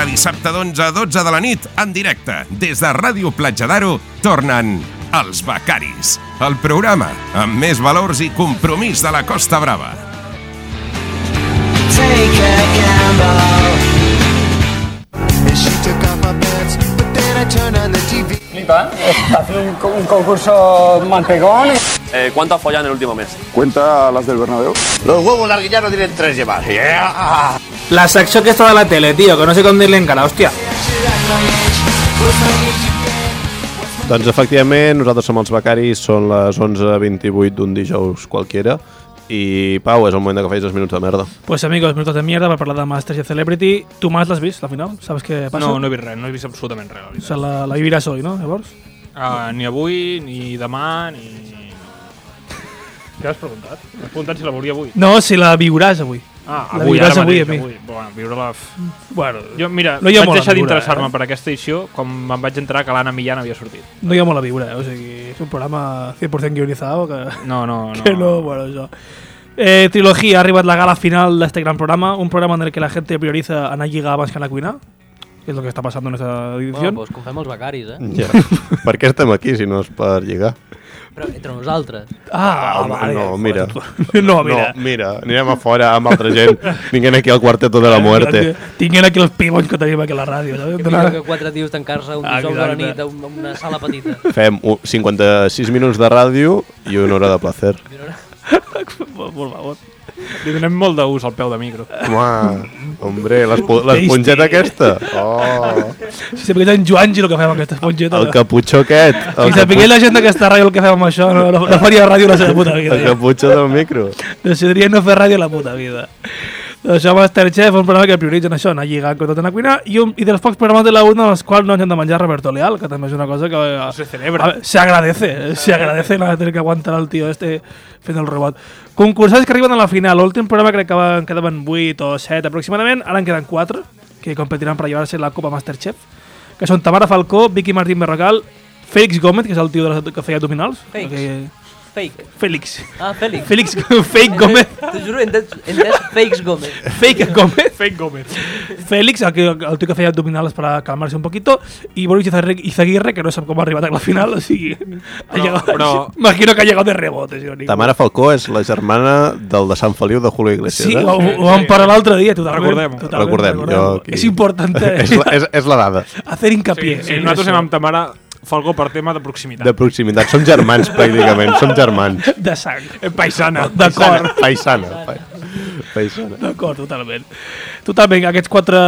Speaker 1: Dissabte d'11 a 12 de la nit, en directe, des de Ràdio Platja d'Aro, tornen Els Becaris, el programa amb més valors i compromís de la Costa Brava.
Speaker 7: Take a gamble.
Speaker 9: And she took off my pants, but then I turned on the TV.
Speaker 10: Eh, ¿Cuánto has follado en el último mes?
Speaker 3: La secció que està de la tele, tio, que no sé com dir-li encara, hòstia.
Speaker 2: Doncs efectivament, nosaltres som els becaris, són les 11.28 d'un dijous qualquiera i Pau, és el moment de que facis els minuts de merda.
Speaker 3: Pues amigos, minutos de mierda per parlar de Masterchef Celebrity. Tu, Mas, l'has vist, la final? Saps què passa?
Speaker 5: No, no he vist res, no he vist absolutament res. la
Speaker 3: O
Speaker 5: veritat.
Speaker 3: sea, la, la viviràs hoy, no? Llavors?
Speaker 5: Ah, ni avui, ni demà, ni... Què has preguntat? Has preguntat si la volia avui.
Speaker 3: No, si la viuràs avui.
Speaker 5: Ah,
Speaker 3: La
Speaker 5: avui,
Speaker 3: viuràs
Speaker 5: ara
Speaker 3: avui,
Speaker 5: mateix,
Speaker 3: a mi.
Speaker 5: avui. Bueno, viure-la...
Speaker 3: Bueno,
Speaker 5: Jo, mira,
Speaker 3: No
Speaker 5: no
Speaker 3: hi ha
Speaker 5: vaig
Speaker 3: molt
Speaker 5: deixar
Speaker 3: aventura,
Speaker 5: d'interessar-me
Speaker 3: eh?
Speaker 5: per aquesta edició com em vaig entrar que l'Anna Millán havia sortit.
Speaker 3: no hi ha molt a viure, eh? o sigui, és un programa 100% guionizado que...
Speaker 5: No, no, no.
Speaker 3: Que no, bueno, eso. Eh, trilogía, ha arribat la gala final de este gran programa, un programa en el que la gente prioriza a anar a lligar abans que anar a cuinar, que es lo que está pasando en esta edición.
Speaker 4: Bueno, doncs com fem els becaris, eh?
Speaker 2: Ja. per què estem aquí si no és per lligar?
Speaker 4: Però entre nosaltres.
Speaker 3: ah,
Speaker 2: home,
Speaker 3: vale.
Speaker 2: no, mira.
Speaker 3: no, mira.
Speaker 2: No, mira, anirem a fora amb altra gent, vinguent aquí al Quarteto de la Muerte.
Speaker 3: Tinguin aquí els pibons que tenim aquí a la ràdio, saps?
Speaker 4: Que
Speaker 3: Donar-
Speaker 4: millor que quatre tios tancar-se un
Speaker 3: Ah,
Speaker 4: dijous a la
Speaker 3: exacte.
Speaker 4: nit a un- a una sala petita.
Speaker 2: Fem u- 56 minuts de ràdio i una hora de placer.
Speaker 3: Por por favor.
Speaker 5: Li donem molt d'ús al peu de micro.
Speaker 2: Home, hombre, l'espo- l'esponjeta aquesta. Oh,
Speaker 3: Si sapigués en Joan Giro que fem amb aquesta esponjeta.
Speaker 2: el caputxó aquest. El,
Speaker 3: Si sapigués
Speaker 2: capu
Speaker 3: la gent d'aquesta ràdio el que fem amb això, no, no, no faria ràdio la seva puta vida.
Speaker 2: el caputxó del micro.
Speaker 3: Decidiria no fer ràdio a la puta vida. Doncs això, Masterchef, un programa que prioritzen això, anar lligant contra anar a cuinar, i, un, i dels pocs programes de la una en els quals no ens hem de menjar Roberto Leal, que també és una cosa que...
Speaker 5: Se celebra.
Speaker 3: A ver, Se agradece, eh, se agradece no tener que aguantar al tío este fent el robot. Concursants que arriben a la final, l'últim programa crec que van, quedaven 8 o 7 aproximadament, ara en queden 4, que competiran per llevar-se la Copa Masterchef, que són Tamara Falcó, Vicky Martín Berrocal, Félix Gómez, que és el tio de les, que feia abdominals.
Speaker 4: Félix.
Speaker 3: Que-
Speaker 4: Fake.
Speaker 3: Félix.
Speaker 4: Ah, Félix.
Speaker 3: Félix, Fake Gómez.
Speaker 4: T'ho juro, he entès, he entès Fakes Gómez.
Speaker 3: Fake Gómez.
Speaker 5: Fake Gómez.
Speaker 3: Félix, el, que, el tio que feia abdominals para calmarse un poquito, i Boris Izaguirre- Izaguirre, que no sap com ha arribat a la final, o sigui... ha
Speaker 5: Però-
Speaker 3: llegat-
Speaker 5: però-
Speaker 3: Imagino que ha llegat de rebote, si no
Speaker 2: Ta mare Falcó és la germana del de Sant Feliu de Julio Iglesias,
Speaker 3: Sí,
Speaker 2: eh?
Speaker 3: ho, ho vam parar l'altre dia, totalment.
Speaker 5: Recordem.
Speaker 3: totalment,
Speaker 2: Recordem, jo aquí-
Speaker 3: És important eh,
Speaker 2: és, la, és, és la dada
Speaker 3: hacer hincapié.
Speaker 5: Sí, sí,
Speaker 3: en
Speaker 5: nosaltres
Speaker 3: eso.
Speaker 5: anem amb ta mare Falcó per tema de proximitat.
Speaker 2: de proximitat. Som germans, pràcticament. Som germans.
Speaker 3: De sang.
Speaker 5: Eh, Paisana.
Speaker 3: D'acord.
Speaker 2: Paisana. pa- Paisana.
Speaker 3: D'acord, totalment. Totalment, aquests quatre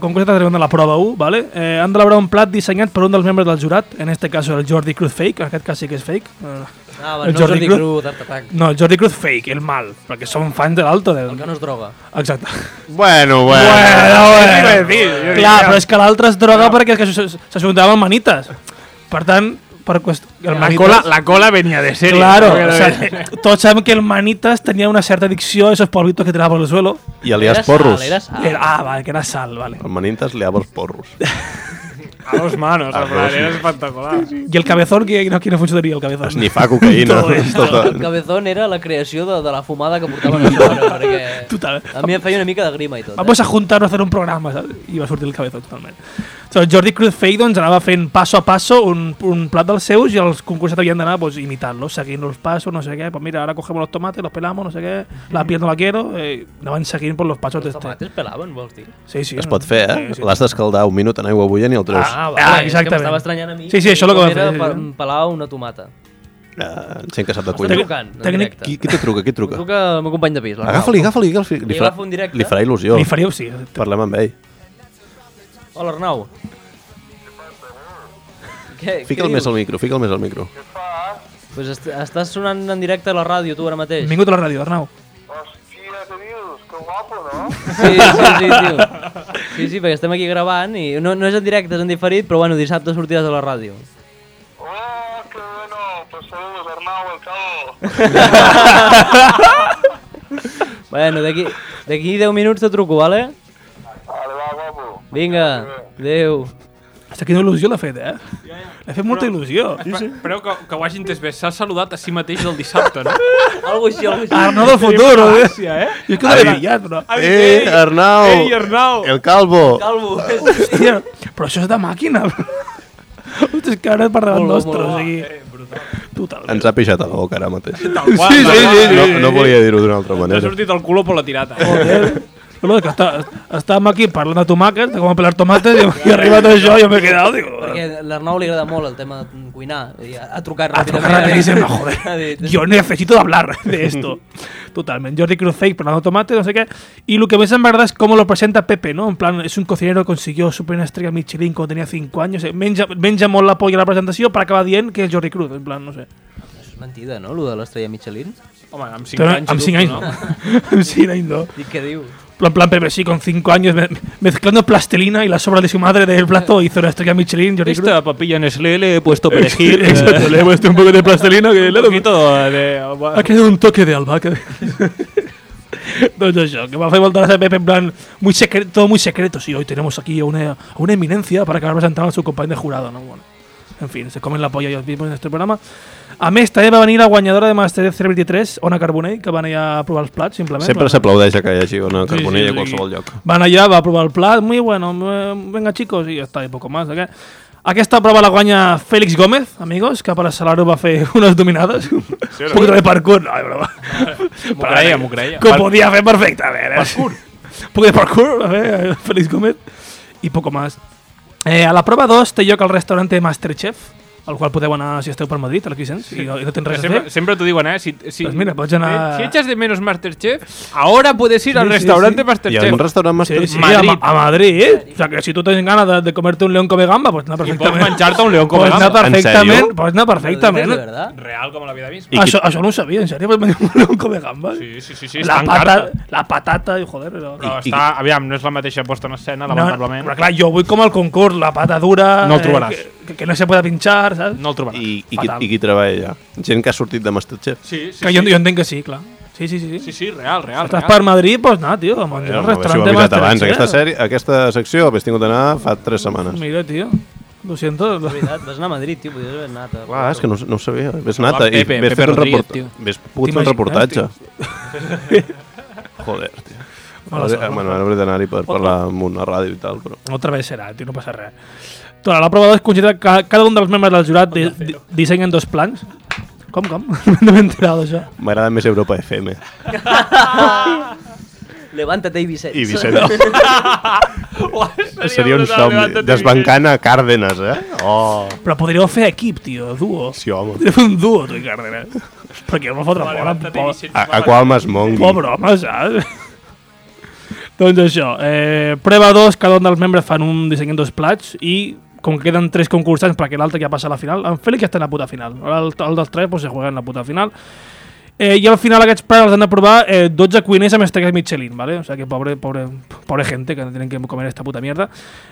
Speaker 3: concursants arriben de la prova 1, vale? eh, han d'elaborar un plat dissenyat per un dels membres del jurat, en este cas el Jordi Cruz Fake, en aquest cas sí que és fake. Eh,
Speaker 4: Ah, va,
Speaker 3: El
Speaker 4: no
Speaker 3: Jordi
Speaker 4: Jordi
Speaker 3: Cruz.
Speaker 4: Cruz, Art Attack.
Speaker 3: No, el Jordi Cruz Fake, el mal, perquè som fans de l'alto. De...
Speaker 4: El que no es droga.
Speaker 3: Exacte.
Speaker 2: Bueno, bueno.
Speaker 3: Ah, bueno. Clar, però és que l'altre es droga perquè és que s'as- s'ajuntava amb manites. Per tant, per qüest... el
Speaker 5: La cola, la cola venia de sèrie.
Speaker 3: Claro,
Speaker 5: No,
Speaker 3: o sea, todos saben que el Manitas tenía una cierta adicción a esos polvitos que tiraba por el suelo.
Speaker 2: I alias
Speaker 4: Era sal,
Speaker 2: porros.
Speaker 4: Era sal.
Speaker 3: Era- ah, vale, que era sal, vale.
Speaker 2: El Manintas liava els porros.
Speaker 5: A dos manos, en plan, era espectacular.
Speaker 3: Y el cabezón, que no, ¿quién no funcionaría el cabezón?
Speaker 2: Esnifar cocaïna.
Speaker 3: Tot és-
Speaker 4: El cabezón era la creació de, de la fumada que portaven a sobre, perquè
Speaker 3: Total.
Speaker 4: a mi em feia una mica de grima i tot. Eh?
Speaker 3: Vamos a juntarnos a hacer un programa, ¿sabes? I va sortir el cabezón totalment. So, el Jordi Cruz Fey doncs, anava fent passo a passo un, un plat dels seus i els concursants havien d'anar pues, imitant-lo, seguint els passos, no sé què. Pues mira, ara cogemos los tomates, los pelamos, no sé què, la piel no la quiero, eh, anaven seguint por los passos.
Speaker 4: Els
Speaker 3: d'este.
Speaker 4: tomates pelaven, vols dir?
Speaker 3: Sí, sí.
Speaker 2: Es pot fer, eh? L'has d'escaldar un minut en aigua bullent i el treus.
Speaker 4: Ah,
Speaker 3: Ah,
Speaker 4: vale, és que
Speaker 3: exactament.
Speaker 4: m'estava estranyant a mi.
Speaker 3: Sí, sí, això és el que
Speaker 4: com
Speaker 3: va fer,
Speaker 4: era
Speaker 3: sí,
Speaker 4: per-
Speaker 3: sí.
Speaker 4: pelar una tomata.
Speaker 2: Ah, gent que sap de
Speaker 4: Està
Speaker 2: cuina.
Speaker 4: trucant, en
Speaker 3: tècnic-
Speaker 4: directe.
Speaker 2: Qui, qui te truca? Qui et truca?
Speaker 4: Truca el meu company de pis. l'Arnau.
Speaker 2: Agafa-li, agafa-li. agafa-li. Li,
Speaker 4: Li
Speaker 2: farà-
Speaker 4: agafo un directe.
Speaker 2: li farà il·lusió.
Speaker 3: Li faríeu, sí.
Speaker 2: Parlem amb ell.
Speaker 4: Hola, Arnau. Què,
Speaker 2: Fica'l més al micro, fica'l més al micro.
Speaker 4: Pues est estàs sonant en directe a la ràdio, tu, ara mateix.
Speaker 3: Vingut a la ràdio, Arnau.
Speaker 4: Sí, sí, sí, tio. Sí, sí, perquè estem aquí gravant i no, no és en directe, és en diferit, però bueno, dissabte sortiràs a la ràdio. Bueno, d'aquí d'aquí 10 minuts te truco, vale? Vale, va, guapo. Vinga, adéu.
Speaker 3: Hasta quina il·lusió l'ha fet, eh? L'ha fet molta il·lusió.
Speaker 5: Espereu que, que ho hagi entès bé. S'ha saludat a si mateix el dissabte, no?
Speaker 4: Algo així, algo així.
Speaker 3: Arnau del futur, eh?
Speaker 5: Gràcia, eh?
Speaker 3: Jo és que no l'he pillat, però...
Speaker 5: Ai,
Speaker 2: Ei, Arnau!
Speaker 5: Ei, Arnau!
Speaker 2: El calvo!
Speaker 4: Calvo.
Speaker 3: Hòstia, però això és de màquina. Hòstia, és que ara és per davant
Speaker 4: Molt bo,
Speaker 3: nostre, o
Speaker 4: molt bo.
Speaker 3: sigui... Total.
Speaker 2: Ens ha pixat a la boca ara mateix.
Speaker 5: Tal qual, tal qual.
Speaker 2: No, no volia dir-ho d'una altra
Speaker 5: T'ha
Speaker 2: manera.
Speaker 5: sortit el culo per la tirata. Eh?
Speaker 3: Joder. Lo de que està, estàvem aquí parlant de tomàquets, de com a pelar tomates, i, i ha arribat això, jo m'he quedat, digo...
Speaker 4: Perquè a l'Arnau li agrada molt el tema de cuinar. I ha, ha trucat
Speaker 3: A
Speaker 4: ràpidament.
Speaker 3: tocar rapidísimo, joder.
Speaker 4: Ha dit,
Speaker 3: Yo necesito hablar de esto. Totalmente. Jordi Cruzey, Fernando Tomate, no sé qué. Y lo que me en verdad es cómo lo presenta Pepe, ¿no? En plan, es un cocinero que consiguió su primera estrella Michelin cuando tenía 5 años. Eh, Menja, menja molt la polla a la presentació per acabar dient que és Jordi Cruz. En plan, no sé.
Speaker 4: És mentida, no, lo de l'estrella Michelin?
Speaker 5: Home, amb 5
Speaker 3: Però
Speaker 5: anys...
Speaker 3: amb 5 anys no. amb 5 anys no.
Speaker 4: Dic, què diu?
Speaker 3: Pero en plan, Pepe sí, con 5 años me- mezclando plastilina y la sobra de su madre del plato hizo una estrella Michelin, Jordi Cruz.
Speaker 5: Esta papilla Nestlé le he puesto
Speaker 3: Sí,
Speaker 5: perejil.
Speaker 3: exacto, le he puesto un poco de plastilina que le he
Speaker 5: eh, Un poquito de...
Speaker 3: Ha quedado un toque de albahaca. Doncs això, que va fer voltar a Pepe en plan muy secreto, todo muy secreto. Sí, hoy tenemos aquí a una, a una eminencia para acabar presentando a su compañero de jurado, ¿no? Bueno, en fin, se comen la polla ellos mismos en este programa. A més, també va venir la guanyadora de Masterchef 23, Ona Carbonell, que va anar allà a provar els plats, simplement.
Speaker 2: Sempre s'aplaudeix que hi hagi una
Speaker 3: sí,
Speaker 2: carbonella
Speaker 3: sí.
Speaker 2: a qualsevol lloc.
Speaker 3: Van allà, va provar el plat, muy bueno, eh, venga chicos, i ja està, i poco más. Okay? Aquesta prova la guanya Félix Gómez, amigos, que per salar-ho va fer unes dominades. Sí, un poquito de parkour, no, és broma.
Speaker 5: M'ho creia, m'ho creia.
Speaker 3: Que ho podia fer perfectament. Eh? Parkour. Un poc de parkour, a ver, Félix Gómez. Y poco más. Eh, a la prova 2 té lloc al restaurante Masterchef, al qual podeu anar si esteu per Madrid, a la Quixens, sí. i no, i no tens res a fer.
Speaker 5: Sempre, sempre t'ho diuen, eh? Si, si,
Speaker 3: Pues mira, pots anar-
Speaker 5: eh, Si echas de menos Masterchef, ahora puedes ir al
Speaker 3: Sí, sí,
Speaker 5: restaurante
Speaker 2: Hi
Speaker 3: sí.
Speaker 2: ha
Speaker 5: Masterchef.
Speaker 2: un restaurant
Speaker 3: Sí,
Speaker 2: master...
Speaker 3: sí,
Speaker 5: Madrid.
Speaker 3: A, Ma- a Madrid. O sea, que si tú tienes ganas de, de comerte un león come gamba, pues nada
Speaker 5: I pots
Speaker 3: perfectament.
Speaker 5: menjar-te un león come
Speaker 3: pues
Speaker 5: gamba.
Speaker 3: Anar
Speaker 2: En
Speaker 3: perfectament,
Speaker 2: sèrio?
Speaker 3: pues anar perfectament.
Speaker 4: De verdad?
Speaker 5: Real com la vida misma.
Speaker 2: I qui-
Speaker 3: Això, això no ho sabia, en sèrio, pues menjar un león come gamba.
Speaker 5: Sí, sí, sí, sí està
Speaker 3: la,
Speaker 5: en
Speaker 3: patata,
Speaker 5: carta.
Speaker 3: la patata, i joder. Però,
Speaker 5: Però està, aviam, no és la mateixa posta en escena, lamentablement.
Speaker 3: però clar, jo vull com el concurs, la pata dura...
Speaker 5: No el trobaràs.
Speaker 3: Eh, que, que no se pueda pinchar, saps?
Speaker 5: No el trobaràs.
Speaker 2: I, i, qui,
Speaker 3: Fatal.
Speaker 2: I qui treballa allà? Gent que ha sortit de Masterchef?
Speaker 5: Sí, sí,
Speaker 3: que
Speaker 5: sí.
Speaker 3: jo, jo entenc que sí, clar. Sí, sí, sí. sí.
Speaker 5: Sí, sí, real, real.
Speaker 3: Estàs per
Speaker 5: real.
Speaker 3: Madrid, doncs pues, anar, tio, a menjar al
Speaker 2: si ho
Speaker 3: restaurant
Speaker 2: hem
Speaker 3: de
Speaker 2: avisat abans.
Speaker 3: Masterchef.
Speaker 5: ¿eh?
Speaker 2: Aquesta, sèrie, aquesta secció l'has tingut d'anar fa 3 setmanes.
Speaker 3: Mira, tio, lo siento.
Speaker 4: De veritat, vas anar a Madrid, tio, podies haver anat. A...
Speaker 2: Clar, és que no, no ho sabia. Ves anat
Speaker 5: Va,
Speaker 2: i
Speaker 5: Pepe,
Speaker 2: ves,
Speaker 5: Pepe
Speaker 2: fet un
Speaker 5: Rodríguez,
Speaker 2: report...
Speaker 5: tio.
Speaker 2: ves pogut fer un
Speaker 3: T'imagines,
Speaker 2: reportatge. Joder, tio.
Speaker 3: Mala
Speaker 2: Ara-
Speaker 3: sort. eh?
Speaker 2: Bueno, ara hauré d'anar-hi per parlar amb una ràdio i tal, però...
Speaker 3: Otra vez serà, tio, no passa res. Tota la prova 2 considera que cada un dels membres del jurat di di dissenyen dos plans. Com, com? no m'he enterat d'això.
Speaker 2: M'agrada més Europa FM.
Speaker 4: Levántate i Vicenç.
Speaker 2: I Vicenç. Seria un somni. Desbancant a Cárdenas, eh? Oh,
Speaker 3: Però podríeu fer equip, tio, duo.
Speaker 2: sí, home.
Speaker 3: Podríeu fer un duo, tu i Cárdenas. Perquè em va fotre fora, pobre,
Speaker 2: A, a qual m'esmongui.
Speaker 3: pobre home, saps? doncs això, eh, prova 2, cada un dels membres fan un dissenyen dos plats i com que queden tres concursants perquè l'altre ja passa a la final, en Fèlix ja està en la puta final. Ara el, el dels tres pues, se juega en la puta final. Eh, I al final aquests plats els han de provar eh, 12 cuiners amb estrellas Michelin, ¿vale? O sea que pobre, pobre, pobre gente que no tienen que comer esta puta mierda.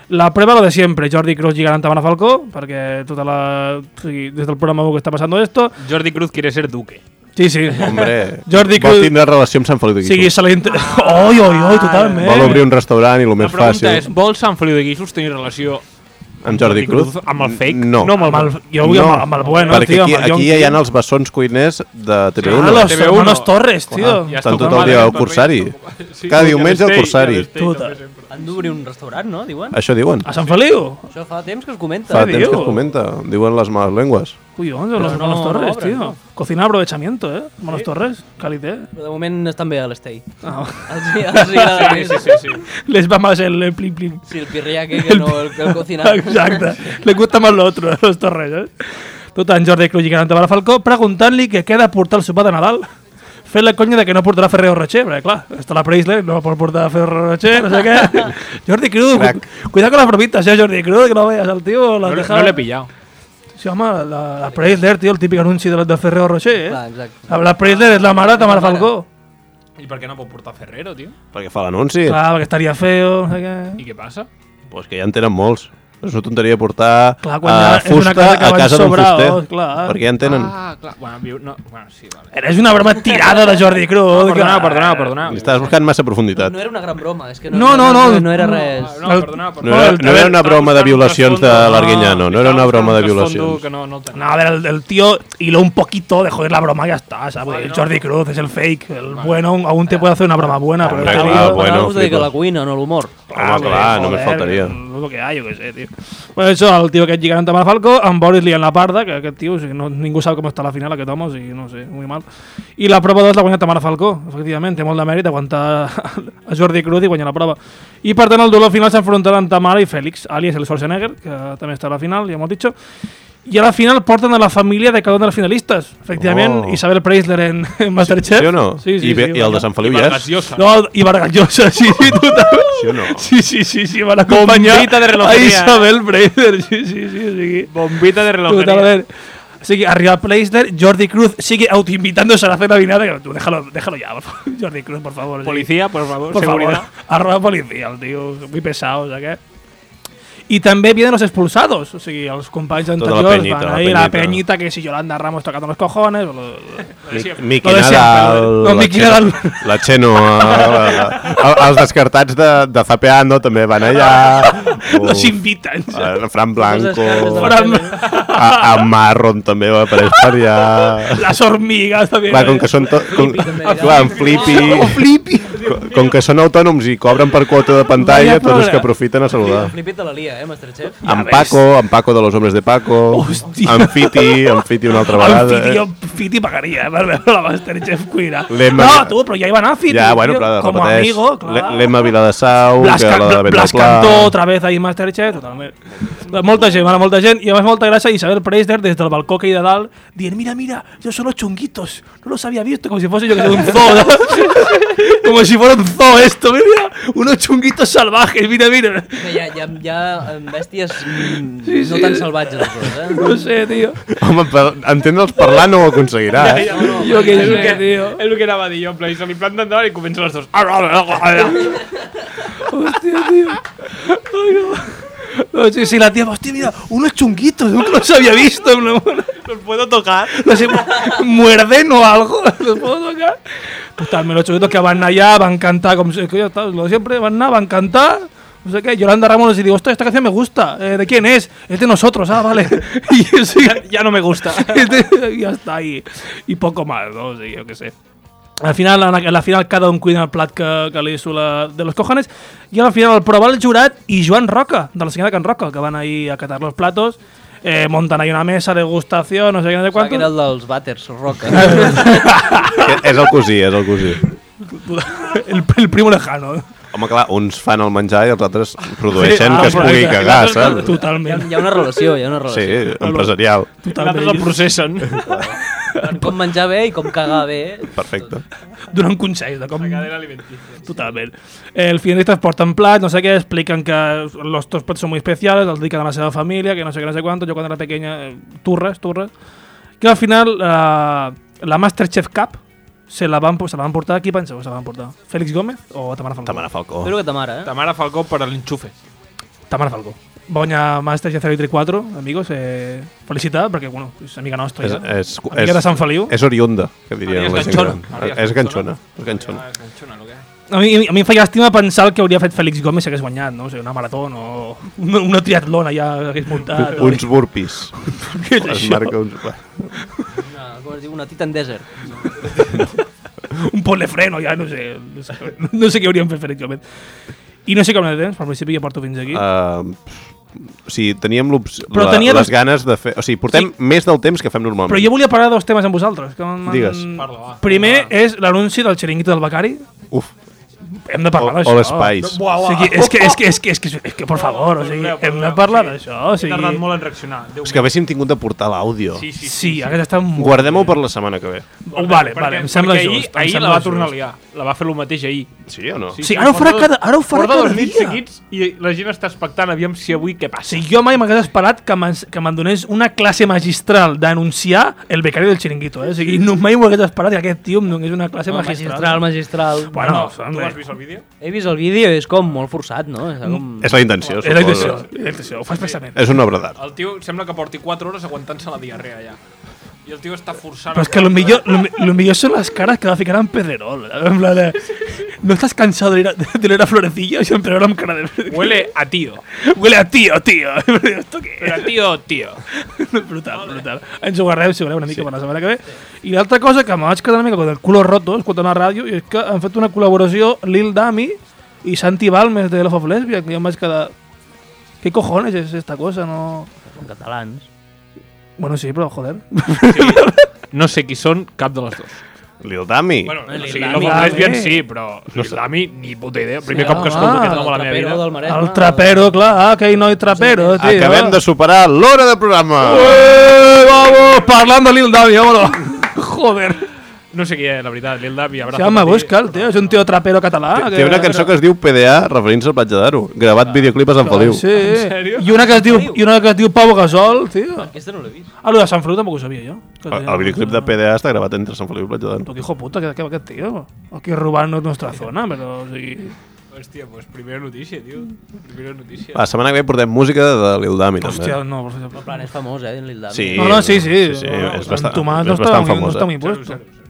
Speaker 3: La prueba lo de siempre, Jordi Cruz llegant davant a Falcó, perquè tota la... O sigui, des del programa que està passant esto...
Speaker 5: Jordi Cruz quiere ser duque.
Speaker 3: Sí, sí.
Speaker 2: Hombre,
Speaker 3: Jordi
Speaker 2: vol
Speaker 3: Cruz-
Speaker 2: tindre relació amb Sant Feliu de
Speaker 3: sigui,
Speaker 2: Guíxols.
Speaker 3: se li... inter- Oi, oi, oi, totalment.
Speaker 2: Vol obrir un restaurant i el
Speaker 5: La
Speaker 2: més
Speaker 5: pregunta
Speaker 2: fàcil...
Speaker 5: és, vol Sant Feliu de Guíxols tenir relació
Speaker 2: Amb Jordi Cruz?
Speaker 5: Amb el fake?
Speaker 2: No.
Speaker 3: No, amb el, amb el, jo vull no. amb, el- amb el bueno,
Speaker 2: Perquè
Speaker 3: tio.
Speaker 2: aquí,
Speaker 3: amb el
Speaker 2: aquí
Speaker 3: John
Speaker 2: ja hi ha
Speaker 3: King.
Speaker 2: els bessons cuiners de
Speaker 3: Ah,
Speaker 2: TV1.
Speaker 3: los
Speaker 5: TV1.
Speaker 3: hermanos Torres, tio.
Speaker 5: Ja
Speaker 2: Estan
Speaker 5: està,
Speaker 2: tot el dia
Speaker 5: malament,
Speaker 2: al Cursari.
Speaker 5: Sí,
Speaker 2: Cada
Speaker 5: ja
Speaker 2: diumenge al
Speaker 5: l'estei,
Speaker 2: Cursari.
Speaker 5: ja l'estei,
Speaker 3: Tota.
Speaker 5: també sempre.
Speaker 4: Han d'obrir un restaurant, no? Diuen.
Speaker 2: Això diuen.
Speaker 3: A Sant Feliu?
Speaker 4: Això fa temps que es comenta.
Speaker 2: Fa
Speaker 3: Què
Speaker 2: temps que
Speaker 3: diu?
Speaker 2: es comenta. Diuen les males llengües.
Speaker 3: Collons, los
Speaker 4: no,
Speaker 3: hermanos
Speaker 4: no
Speaker 3: Torres,
Speaker 4: obren,
Speaker 3: tio.
Speaker 4: no.
Speaker 3: Cocina aprovechamiento, eh? Hermanos Torres, calité.
Speaker 4: Però de moment estan bé a l'Estei.
Speaker 3: Ah,
Speaker 4: Els, els hi agrada
Speaker 5: Sí,
Speaker 4: més.
Speaker 5: sí, sí, sí.
Speaker 3: les va más el, el plim plim.
Speaker 4: Sí, el pirriaque que no el, el cocinar.
Speaker 3: Exacte. Le gusta más lo otro, a los Torres, eh? Tot en Jordi Cruz lligant endavant a Falcó, preguntant-li que què ha de portar el sopar de Nadal. Fent la conya de que no portarà Ferrero Rocher, perquè clar, està la Preisler, no pot portar Ferrero Rocher, no sé què. Jordi Cruz, cu cuidado con las bromitas, eh, Jordi Cruz, que no veas al tío. La
Speaker 5: No,
Speaker 3: deja...
Speaker 5: no l'he pillat.
Speaker 3: Sí, home, la, la Preisler, tio, el típic anunci de, de Ferrero Rocher, eh?
Speaker 4: Clar, exacte.
Speaker 3: La, la Preisler és la mare de Tamara
Speaker 4: mare.
Speaker 3: Falcó.
Speaker 5: I per què no pot portar Ferrero, tio?
Speaker 2: Perquè fa l'anunci.
Speaker 3: Clar, perquè estaria feo, no sé què.
Speaker 5: I què passa?
Speaker 2: Pues que ja en tenen molts. És una tonteria portar
Speaker 3: Clar, quan
Speaker 2: eh,
Speaker 3: ja és una
Speaker 2: fusta
Speaker 3: cosa que
Speaker 2: a
Speaker 3: van
Speaker 2: casa d'un
Speaker 3: sobraos,
Speaker 2: fuster.
Speaker 3: clar.
Speaker 2: Perquè ja en tenen.
Speaker 5: Ah, clar. Bueno, viu... no. bueno sí, vale.
Speaker 3: Eres una broma tirada de Jordi
Speaker 5: Perdona,
Speaker 3: Cruz. Oh, que- Ah,
Speaker 5: perdona, perdona.
Speaker 2: Li estàs buscant massa profunditat.
Speaker 4: No era una gran broma, és que no,
Speaker 3: No, no, no.
Speaker 4: no era
Speaker 3: no.
Speaker 4: res.
Speaker 5: No, perdona, perdona.
Speaker 2: No era- no era una broma de violacions de l'Arguiñano, no era una broma de violacions.
Speaker 5: Que no, no el
Speaker 3: No, a ver, el, el tío hiló un poquito de joder la broma y ya está, ¿sabes?
Speaker 5: Vale, no.
Speaker 3: Jordi Cruz es el fake. El bueno aún te puede hacer una broma buena, pero este
Speaker 2: Hombre,
Speaker 3: el
Speaker 2: claro,
Speaker 3: tío-
Speaker 2: bueno,
Speaker 4: Parlàvem de que
Speaker 2: flipa.
Speaker 4: la cuina, no l'humor.
Speaker 2: Home, clar, només
Speaker 3: joder,
Speaker 2: faltaria.
Speaker 3: Lo que hay, yo qué sé, tío. Bueno, eso, el tío que llegant amb el Falco, amb Boris li en la parda, que aquest tio, o sigui, no, ningú sap com està la final, aquest home, o sigui, no ho sé, muy mal. I la prova 2 l'ha guanyat Tamara Falcó, efectivament, té molt de mèrit aguantar a Jordi Cruz i guanyar la prova. I per tant, el duelo final s'enfrontaran Tamara i Félix, alias el Schwarzenegger, que també està a la final, ja hemos dicho, i a la final porten a la família de cada un dels finalistes.
Speaker 2: Oh.
Speaker 3: Efectivament, oh. Isabel Preisler en, en Masterchef.
Speaker 2: Sí o no?
Speaker 3: Sí, sí,
Speaker 2: I, bé-
Speaker 3: sí,
Speaker 2: I el de Sant Feliu ja és?
Speaker 5: Graciosa. No.
Speaker 3: no, y Vargas Llosa, sí, sí, total.
Speaker 2: Sí o no?
Speaker 3: Sí, sí, sí, sí, van a acompañar
Speaker 5: Bombita de
Speaker 3: a
Speaker 5: relojería.
Speaker 3: Isabel Breider, sí, sí, sí, o sigui,
Speaker 5: Bombita de relojería.
Speaker 3: totalment. O sigui, arriba Preisler, Jordi Cruz sigue autoinvitándose a la cena vinada, que tú déjalo, déjalo ya, por favor, Jordi Cruz, por favor. o sigui,
Speaker 5: Policía, por favor,
Speaker 3: por favor,
Speaker 5: seguridad.
Speaker 3: arroba policía, el tío, muy pesado, o sea que... Y también vienen los expulsados, o sea, los compañeros
Speaker 2: Tota la
Speaker 3: anteriores
Speaker 2: peñita,
Speaker 3: van
Speaker 2: la
Speaker 3: ahí, la
Speaker 2: peñita.
Speaker 3: peñita que si Yolanda Ramos tocando los cojones, o lo-
Speaker 2: Mi- Miqui
Speaker 3: Lo de sempre,
Speaker 2: Nadal,
Speaker 3: lo de-
Speaker 2: la
Speaker 3: no, Miqui
Speaker 2: Xeno-
Speaker 3: Nadal.
Speaker 2: la Xeno, eh, el- els descartats de, de Zapeando també van allà, eh,
Speaker 3: los invitan. ¿sabes?
Speaker 2: el Fran Blanco,
Speaker 3: Fran-
Speaker 2: a, a Marron també va aparèixer per allà,
Speaker 3: Las hormigas también.
Speaker 2: clar, com que són, to, com, clar, en Flippy,
Speaker 3: Flippy.
Speaker 2: com, com que són autònoms i cobren per quota de pantalla,
Speaker 3: Vaya
Speaker 2: tots els que
Speaker 3: programa.
Speaker 2: aprofiten a saludar.
Speaker 4: Flipit de la lia, eh, Masterchef?
Speaker 2: En Paco, en Paco de los hombres de Paco,
Speaker 3: Hòstia.
Speaker 2: en Fiti, en Fiti una altra vegada.
Speaker 3: Fiti,
Speaker 2: eh?
Speaker 3: jo, Fiti pagaria eh, per veure la Masterchef cuina.
Speaker 2: L'Emma-
Speaker 3: No, tu, però ja hi va anar Fiti.
Speaker 2: Ja, bueno,
Speaker 3: tio,
Speaker 2: clar,
Speaker 3: com a
Speaker 2: repeteix.
Speaker 3: amigo,
Speaker 2: L'E-
Speaker 3: clar.
Speaker 2: L'Emma Viladasau,
Speaker 3: Blas,
Speaker 2: que la de
Speaker 3: Can-
Speaker 2: Vent
Speaker 3: Blas
Speaker 2: del Pla.
Speaker 3: Cantó, otra vez ahí Masterchef, totalment. Molta gent, va anar molta gent, i a més molta gràcia Isabel Preisler des del balcó que hi de dalt, dient, mira, mira, yo son los chunguitos, no los había visto, como si fuese yo que sé, un zoo, ¿no? como si fuera un zoo esto, mira, unos chunguitos salvajes, mira, mira.
Speaker 4: Que hi ha, hi ha, hi ha em, bèsties mm, no tan salvatges, les dues, eh?
Speaker 3: No sé, tío.
Speaker 2: Home, per entendre'ls parlar no ho aconseguirà, eh?
Speaker 3: Yo qué sé, tío.
Speaker 5: Es lo que era Badillo, en plan, se le plantan nada y comienzan los dos. Ah,
Speaker 3: Hostia, tío. Ay, no. No, sí, sí, la tía, hostia, mira, unos chunguitos, nunca los había visto. No,
Speaker 5: ¿Los puedo tocar?
Speaker 3: no sé, mu- muerden o algo, los puedo tocar. Total, me los chunguitos que van allá, van a cantar, como si- que ya está, lo de siempre, van a, van a cantar. No sé qué, Yolanda Ramos y digo, hostia, esta canción me gusta. Eh, ¿De quién es? Es de nosotros, ah, vale. y yo sí,
Speaker 5: Ya no me gusta.
Speaker 3: y ya está ahí. Y poco más, ¿no? Sí, yo qué sé. Al final, en la, en la final, cada un cuina el plat que, que li sula de los cojones. I al final el prova el jurat i Joan Roca, de la senyora Can Roca, que van ahir a catar los platos, eh, montan ahí una mesa, degustació, no sé què, no sé
Speaker 4: Clar, que era
Speaker 3: quantos.
Speaker 4: el dels vàters, Roca.
Speaker 2: Que És el cosí, és el cosí.
Speaker 3: El, el primo lejano.
Speaker 2: Home, clar, uns fan el menjar i els altres produeixen
Speaker 3: ah,
Speaker 2: Pues que es
Speaker 3: però-
Speaker 2: pugui cagar, saps?
Speaker 4: hi, ha,
Speaker 3: Totalment.
Speaker 4: hi ha una relació, hi ha una
Speaker 2: Sí,
Speaker 4: relació.
Speaker 2: empresarial.
Speaker 5: Nosaltres el
Speaker 3: Totalment.
Speaker 5: processen.
Speaker 4: Sí. Com menjar bé i com cagar bé.
Speaker 2: Perfecte.
Speaker 3: Donant consells de com...
Speaker 5: Cadena alimenticia.
Speaker 3: Totalment. Eh, els finalistes porten plats, no sé què, expliquen que los dos plats són molt especials, els dediquen a la seva família, que no sé què, no sé quanto, jo quan era pequeña, eh, turres, turres. Que al final, eh, la Masterchef Cup se la van, se la van portar, qui penseu que se la van portar? Félix Gómez o Tamara Falcó?
Speaker 2: Tamara Falcó.
Speaker 4: Espero que ta mare, eh?
Speaker 5: Tamara Falcó para el enchufe.
Speaker 3: Tamara Falcó. Bonya Masterchef 04, amigos, eh, felicitat, perquè, bueno, és amiga nostra,
Speaker 2: És,
Speaker 3: ja.
Speaker 2: és,
Speaker 3: Amiga de Sant Feliu.
Speaker 2: és oriunda, que dirien
Speaker 5: Maria
Speaker 2: la
Speaker 5: és
Speaker 2: gent gran.
Speaker 5: ganxona. Maria és
Speaker 2: És ganxona.
Speaker 5: ganxona.
Speaker 2: És ganxona.
Speaker 5: Canchona, lo que hay.
Speaker 3: A mi, a mi em fa llàstima pensar el que hauria fet Félix Gómez si hagués guanyat, no? O sigui, una marató o una, una triatlona ja hagués muntat. o-
Speaker 2: Uns burpis.
Speaker 3: Què és
Speaker 2: Es
Speaker 3: això?
Speaker 2: marca uns...
Speaker 4: Una, com es diu? Una Titan Desert.
Speaker 3: un pont de freno, ja no sé, no sé, no sé què hauríem fet perfectament. I no sé com de temps, pel principi ja porto fins aquí. Uh,
Speaker 2: Uh, o sigui, teníem l'opció-
Speaker 3: Però
Speaker 2: la,
Speaker 3: tenia
Speaker 2: les
Speaker 3: dos-
Speaker 2: ganes de fer... O sigui, portem més del temps que fem normalment.
Speaker 3: Però jo volia parlar de dos temes amb vosaltres. Que m'han-
Speaker 2: Digues.
Speaker 5: Parla, va.
Speaker 3: Primer és l'anunci del xeringuito del Becari.
Speaker 2: Uf,
Speaker 3: Hem de parlar
Speaker 2: all,
Speaker 3: d'això.
Speaker 2: all espais.
Speaker 5: Buah,
Speaker 3: O
Speaker 5: buah.
Speaker 3: sigui, és que, és que, és que, és que, és que, por favor, o sigui,
Speaker 5: Perdoneu,
Speaker 3: hem de
Speaker 5: perdoneu,
Speaker 3: parlar
Speaker 5: sí.
Speaker 3: d'això. O
Speaker 5: He tardat
Speaker 3: sigui,
Speaker 5: molt en reaccionar. Déu
Speaker 2: És que haguéssim tingut de portar l'àudio.
Speaker 5: Sí, sí, sí.
Speaker 3: sí, hagués estat molt...
Speaker 2: Guardem-ho per la setmana que ve.
Speaker 3: Oh, vale, vale, em sembla
Speaker 5: perquè
Speaker 3: just. em
Speaker 5: Ahir, ahir
Speaker 3: sembla
Speaker 5: la va
Speaker 3: just.
Speaker 5: tornar a liar. La va fer el mateix ahir.
Speaker 2: Sí o no?
Speaker 3: Sí, ara ho farà cada, ara ho
Speaker 5: Porta
Speaker 3: farà cada
Speaker 5: dos nits
Speaker 3: dia.
Speaker 5: seguits i la gent està expectant aviam si avui què
Speaker 3: O
Speaker 5: passa.
Speaker 3: sigui, jo mai m'hagués esperat que m'ens- que me'n donés una classe magistral d'anunciar el becari del xiringuito, eh? O sigui, no, mai m'ho hagués esperat que aquest tio em donés una classe magistral.
Speaker 4: magistral.
Speaker 5: Ah,
Speaker 3: Bueno,
Speaker 5: tu
Speaker 3: hombre,
Speaker 5: vas Has vist el vídeo?
Speaker 4: He vist el vídeo i és com molt forçat, no? És com...
Speaker 5: Mm.
Speaker 2: És la intenció,
Speaker 3: És la intenció,
Speaker 2: suposo.
Speaker 3: és la intenció, ho fas pensament.
Speaker 2: És una obra d'art.
Speaker 5: El tio sembla que porti 4 hores aguantant-se la diarrea allà. I el tio està forçant...
Speaker 3: Però és que lo millor, lo, mi- lo millor són les cares que va ficar en Pedrerol. eh? En plan de... ¿No estás cansado de ir a, de oler a florecillas? Y en Pedrerol amb cara de...
Speaker 5: Huele a tío.
Speaker 3: Huele a tío, tío. ¿Esto qué
Speaker 5: Però a tío, tío.
Speaker 3: brutal, brutal. Ens ho guardem, si voleu, una mica sí. per la setmana que ve. I l'altra cosa que m'haig quedat una mica con el culo roto escoltant la ràdio i és que han fet una col·laboració Lil Dami i Santi Balmes de Love of Lesbian, que jo em vaig quedar... ¿Qué cojones es esta cosa? No...
Speaker 4: Són catalans.
Speaker 3: Bueno, sí, però joder.
Speaker 5: No sé qui són cap de les dues.
Speaker 2: Lil Dami.
Speaker 5: Bueno,
Speaker 4: Lil
Speaker 5: o sigui,
Speaker 4: Dami.
Speaker 5: no
Speaker 3: Dami.
Speaker 5: fos lesbian, sí, però Lil Dami, ni puta idea. Primer
Speaker 3: Sí,
Speaker 5: cop que escolto
Speaker 3: home,
Speaker 5: aquest nom a
Speaker 4: Ah, el
Speaker 5: la meva
Speaker 4: trapero
Speaker 5: vida.
Speaker 4: del Maresme.
Speaker 3: El trapero, clar, Ah, aquell noi trapero, tio.
Speaker 2: Acabem de superar l'hora de programa.
Speaker 3: Eh, vamos, parlant de Lil Dami, vámonos. joder.
Speaker 5: No sé qui és, la veritat. Lil Dami, abrazo.
Speaker 3: Se llama
Speaker 5: per ti.
Speaker 3: Buscal, tio, és un tio trapero català.
Speaker 2: Té té una cançó que es diu PDA, referint-se al Platja d'Aro. Gravat videoclip a Sant Feliu.
Speaker 3: Ah. Sí.
Speaker 5: En sèrio?
Speaker 3: I una que es diu, i una que es diu Pau Gasol, tio.
Speaker 4: Aquesta no l'he vist.
Speaker 3: Ah, lo de Sant Feliu tampoc ho sabia jo. Que
Speaker 2: El,
Speaker 3: tenia-
Speaker 2: el videoclip de PDA està gravat entre Sant Feliu i Platja d'Aro.
Speaker 3: Però que hijo puta, que, que aquest tio. Aquí robant-nos nostra zona, però... O sigui...
Speaker 2: Eh.
Speaker 5: Hòstia, pues primera notícia, tio. Primera notícia.
Speaker 2: La setmana que ve portem música de Lil Dami, també.
Speaker 3: Hòstia, no, per
Speaker 4: En
Speaker 3: favor.
Speaker 4: plan, és famós, eh, en Lil Dami.
Speaker 2: Sí.
Speaker 3: No, no, sí, sí.
Speaker 2: Sí, sí,
Speaker 3: no,
Speaker 2: és bastant-
Speaker 3: en Tomàs
Speaker 2: és
Speaker 3: no està,
Speaker 2: bastant
Speaker 3: muy- no
Speaker 2: famosa.
Speaker 3: está muy
Speaker 5: Zero,
Speaker 3: puesto.
Speaker 5: zero, zero.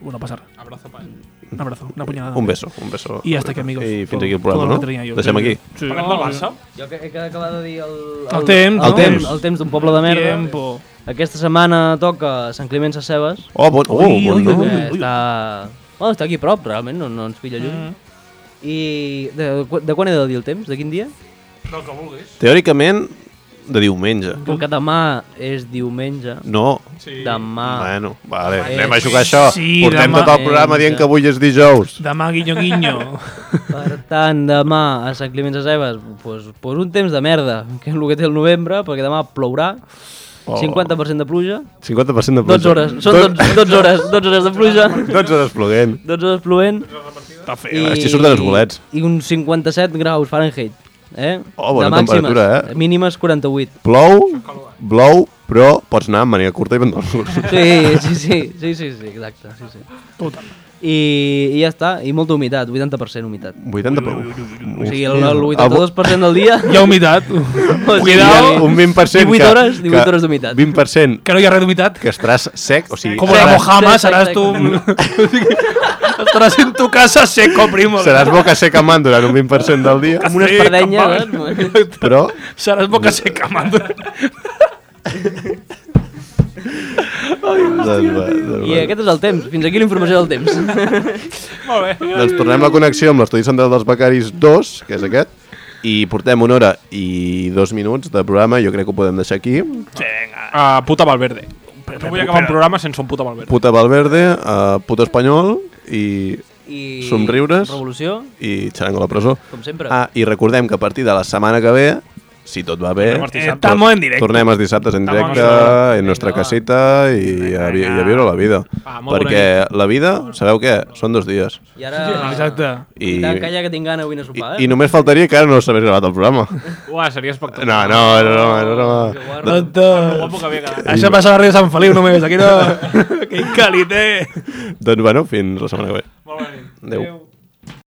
Speaker 3: Bueno, pasa nada.
Speaker 5: Abrazo pa ell.
Speaker 3: Un abrazo, una puñalada.
Speaker 2: Un beso, un beso.
Speaker 3: I ja està aquí, amigos.
Speaker 2: I fins
Speaker 3: Tot-
Speaker 2: aquí el
Speaker 3: tot
Speaker 2: programa,
Speaker 3: que tenia
Speaker 2: no?
Speaker 3: jo.
Speaker 2: Deixem aquí.
Speaker 3: Sí.
Speaker 5: Parlem del Barça?
Speaker 4: Jo que, que acaba de dir el... Ah,
Speaker 3: El temps,
Speaker 4: El
Speaker 3: no?
Speaker 4: temps, el temps d'un poble de merda.
Speaker 3: Tiempo.
Speaker 4: Aquesta setmana toca Sant Climent Sacebes.
Speaker 2: Oh, bon, oh,
Speaker 3: Ui,
Speaker 2: bon
Speaker 3: ui,
Speaker 2: nom.
Speaker 3: ui,
Speaker 4: Eh, està... Bueno, està aquí a prop, realment, no, no ens pilla lluny.
Speaker 2: Mm.
Speaker 4: I de, de quan he de dir el temps? De quin dia?
Speaker 5: Del que vulguis.
Speaker 2: Teòricament, de diumenge.
Speaker 3: Ah.
Speaker 4: Com que demà és diumenge,
Speaker 2: No.
Speaker 5: Sí.
Speaker 4: demà...
Speaker 2: Bueno, vale,
Speaker 4: Eh,
Speaker 2: anem a jugar a això.
Speaker 3: Ah. sí,
Speaker 2: Portem
Speaker 3: demà.
Speaker 2: tot el programa dient que avui és dijous.
Speaker 3: Demà, guinyo, guinyo.
Speaker 4: Per tant, demà a Sant Climent Sacebes, pues, pues un temps de merda, que és el que té el novembre, perquè demà plourà,
Speaker 2: Oh.
Speaker 4: 50% de pluja,
Speaker 2: 50% de pluja.
Speaker 4: 12 hores, són 12, 12 hores, 12 hores de pluja,
Speaker 2: 12 hores ploguent.
Speaker 4: 12 hores plovent,
Speaker 2: Està feo. Així surten els bolets.
Speaker 4: I uns 57 graus Fahrenheit. Eh?
Speaker 2: Oh, bona
Speaker 4: de màximes.
Speaker 2: temperatura, eh?
Speaker 4: Mínimes 48.
Speaker 2: Plou, blou, però pots anar amb màniga curta i pantalons.
Speaker 4: Sí, sí, sí, sí, sí, sí exacte. Sí, sí.
Speaker 3: Total.
Speaker 4: I, I ja està, i molta humitat, 80% humitat.
Speaker 2: 80 plou.
Speaker 4: O sigui, el, el 82% del dia...
Speaker 3: Hi ha humitat.
Speaker 4: O sigui,
Speaker 2: Cuidao, un 20%.
Speaker 4: 18
Speaker 2: que-
Speaker 4: hores, 18
Speaker 2: que-
Speaker 4: hores d'humitat.
Speaker 2: 20%
Speaker 3: Que no hi ha res d'humitat.
Speaker 2: que estaràs sec, o sigui,
Speaker 3: Com la
Speaker 2: seràs,
Speaker 3: Mojama,
Speaker 4: sí,
Speaker 3: seràs
Speaker 4: sí,
Speaker 3: tu... Estaràs en tu casa seco, primo.
Speaker 2: seràs boca seca man durant un 20% del dia,
Speaker 4: Amb una espardenya, eh?
Speaker 2: però
Speaker 3: Seràs boca seca, mando.
Speaker 2: doncs, va, doncs,
Speaker 4: I aquest és el temps, fins aquí la informació del temps.
Speaker 2: va. doncs tornem la connexió amb l'estudi central dels becaris 2, que és aquest, i portem una hora i dos minuts de programa, jo crec que ho podem deixar aquí.
Speaker 5: Uh, puta Valverde. No vull acabar un programa sense un puta Valverde.
Speaker 2: Puta Valverde, uh, puta espanyol i,
Speaker 4: I
Speaker 2: Somriures.
Speaker 4: Revolució,
Speaker 2: i xarango a la presó.
Speaker 4: com sempre.
Speaker 2: Ah, i recordem que a partir de la setmana que ve, si tot va bé,
Speaker 3: Estamos en directe.
Speaker 2: Tornem els dissabtes en
Speaker 5: Estamos en
Speaker 2: directe, en nostra caseta i a, vi- i a viure la vida.
Speaker 5: Va, molt
Speaker 2: Perquè la vida, sabeu què? Són dos dies.
Speaker 4: I ara...
Speaker 3: Exacte.
Speaker 2: I,
Speaker 4: I tant, calla que tinc gana avui a
Speaker 2: i,
Speaker 4: sopar,
Speaker 2: i
Speaker 4: eh?
Speaker 2: només faltaria que ara no s'hagués gravat el programa.
Speaker 5: Uah, seria espectacular.
Speaker 2: No, no, és broma, és broma.
Speaker 5: Lo
Speaker 3: Doncs...
Speaker 5: guapo que havia quedat.
Speaker 3: Això passa a la Ràdio Sant Feliu només, aquí no... Quin calit, eh?
Speaker 2: Doncs bueno, fins la setmana que ve.
Speaker 5: Molt bé.
Speaker 2: Adéu.
Speaker 5: Adéu.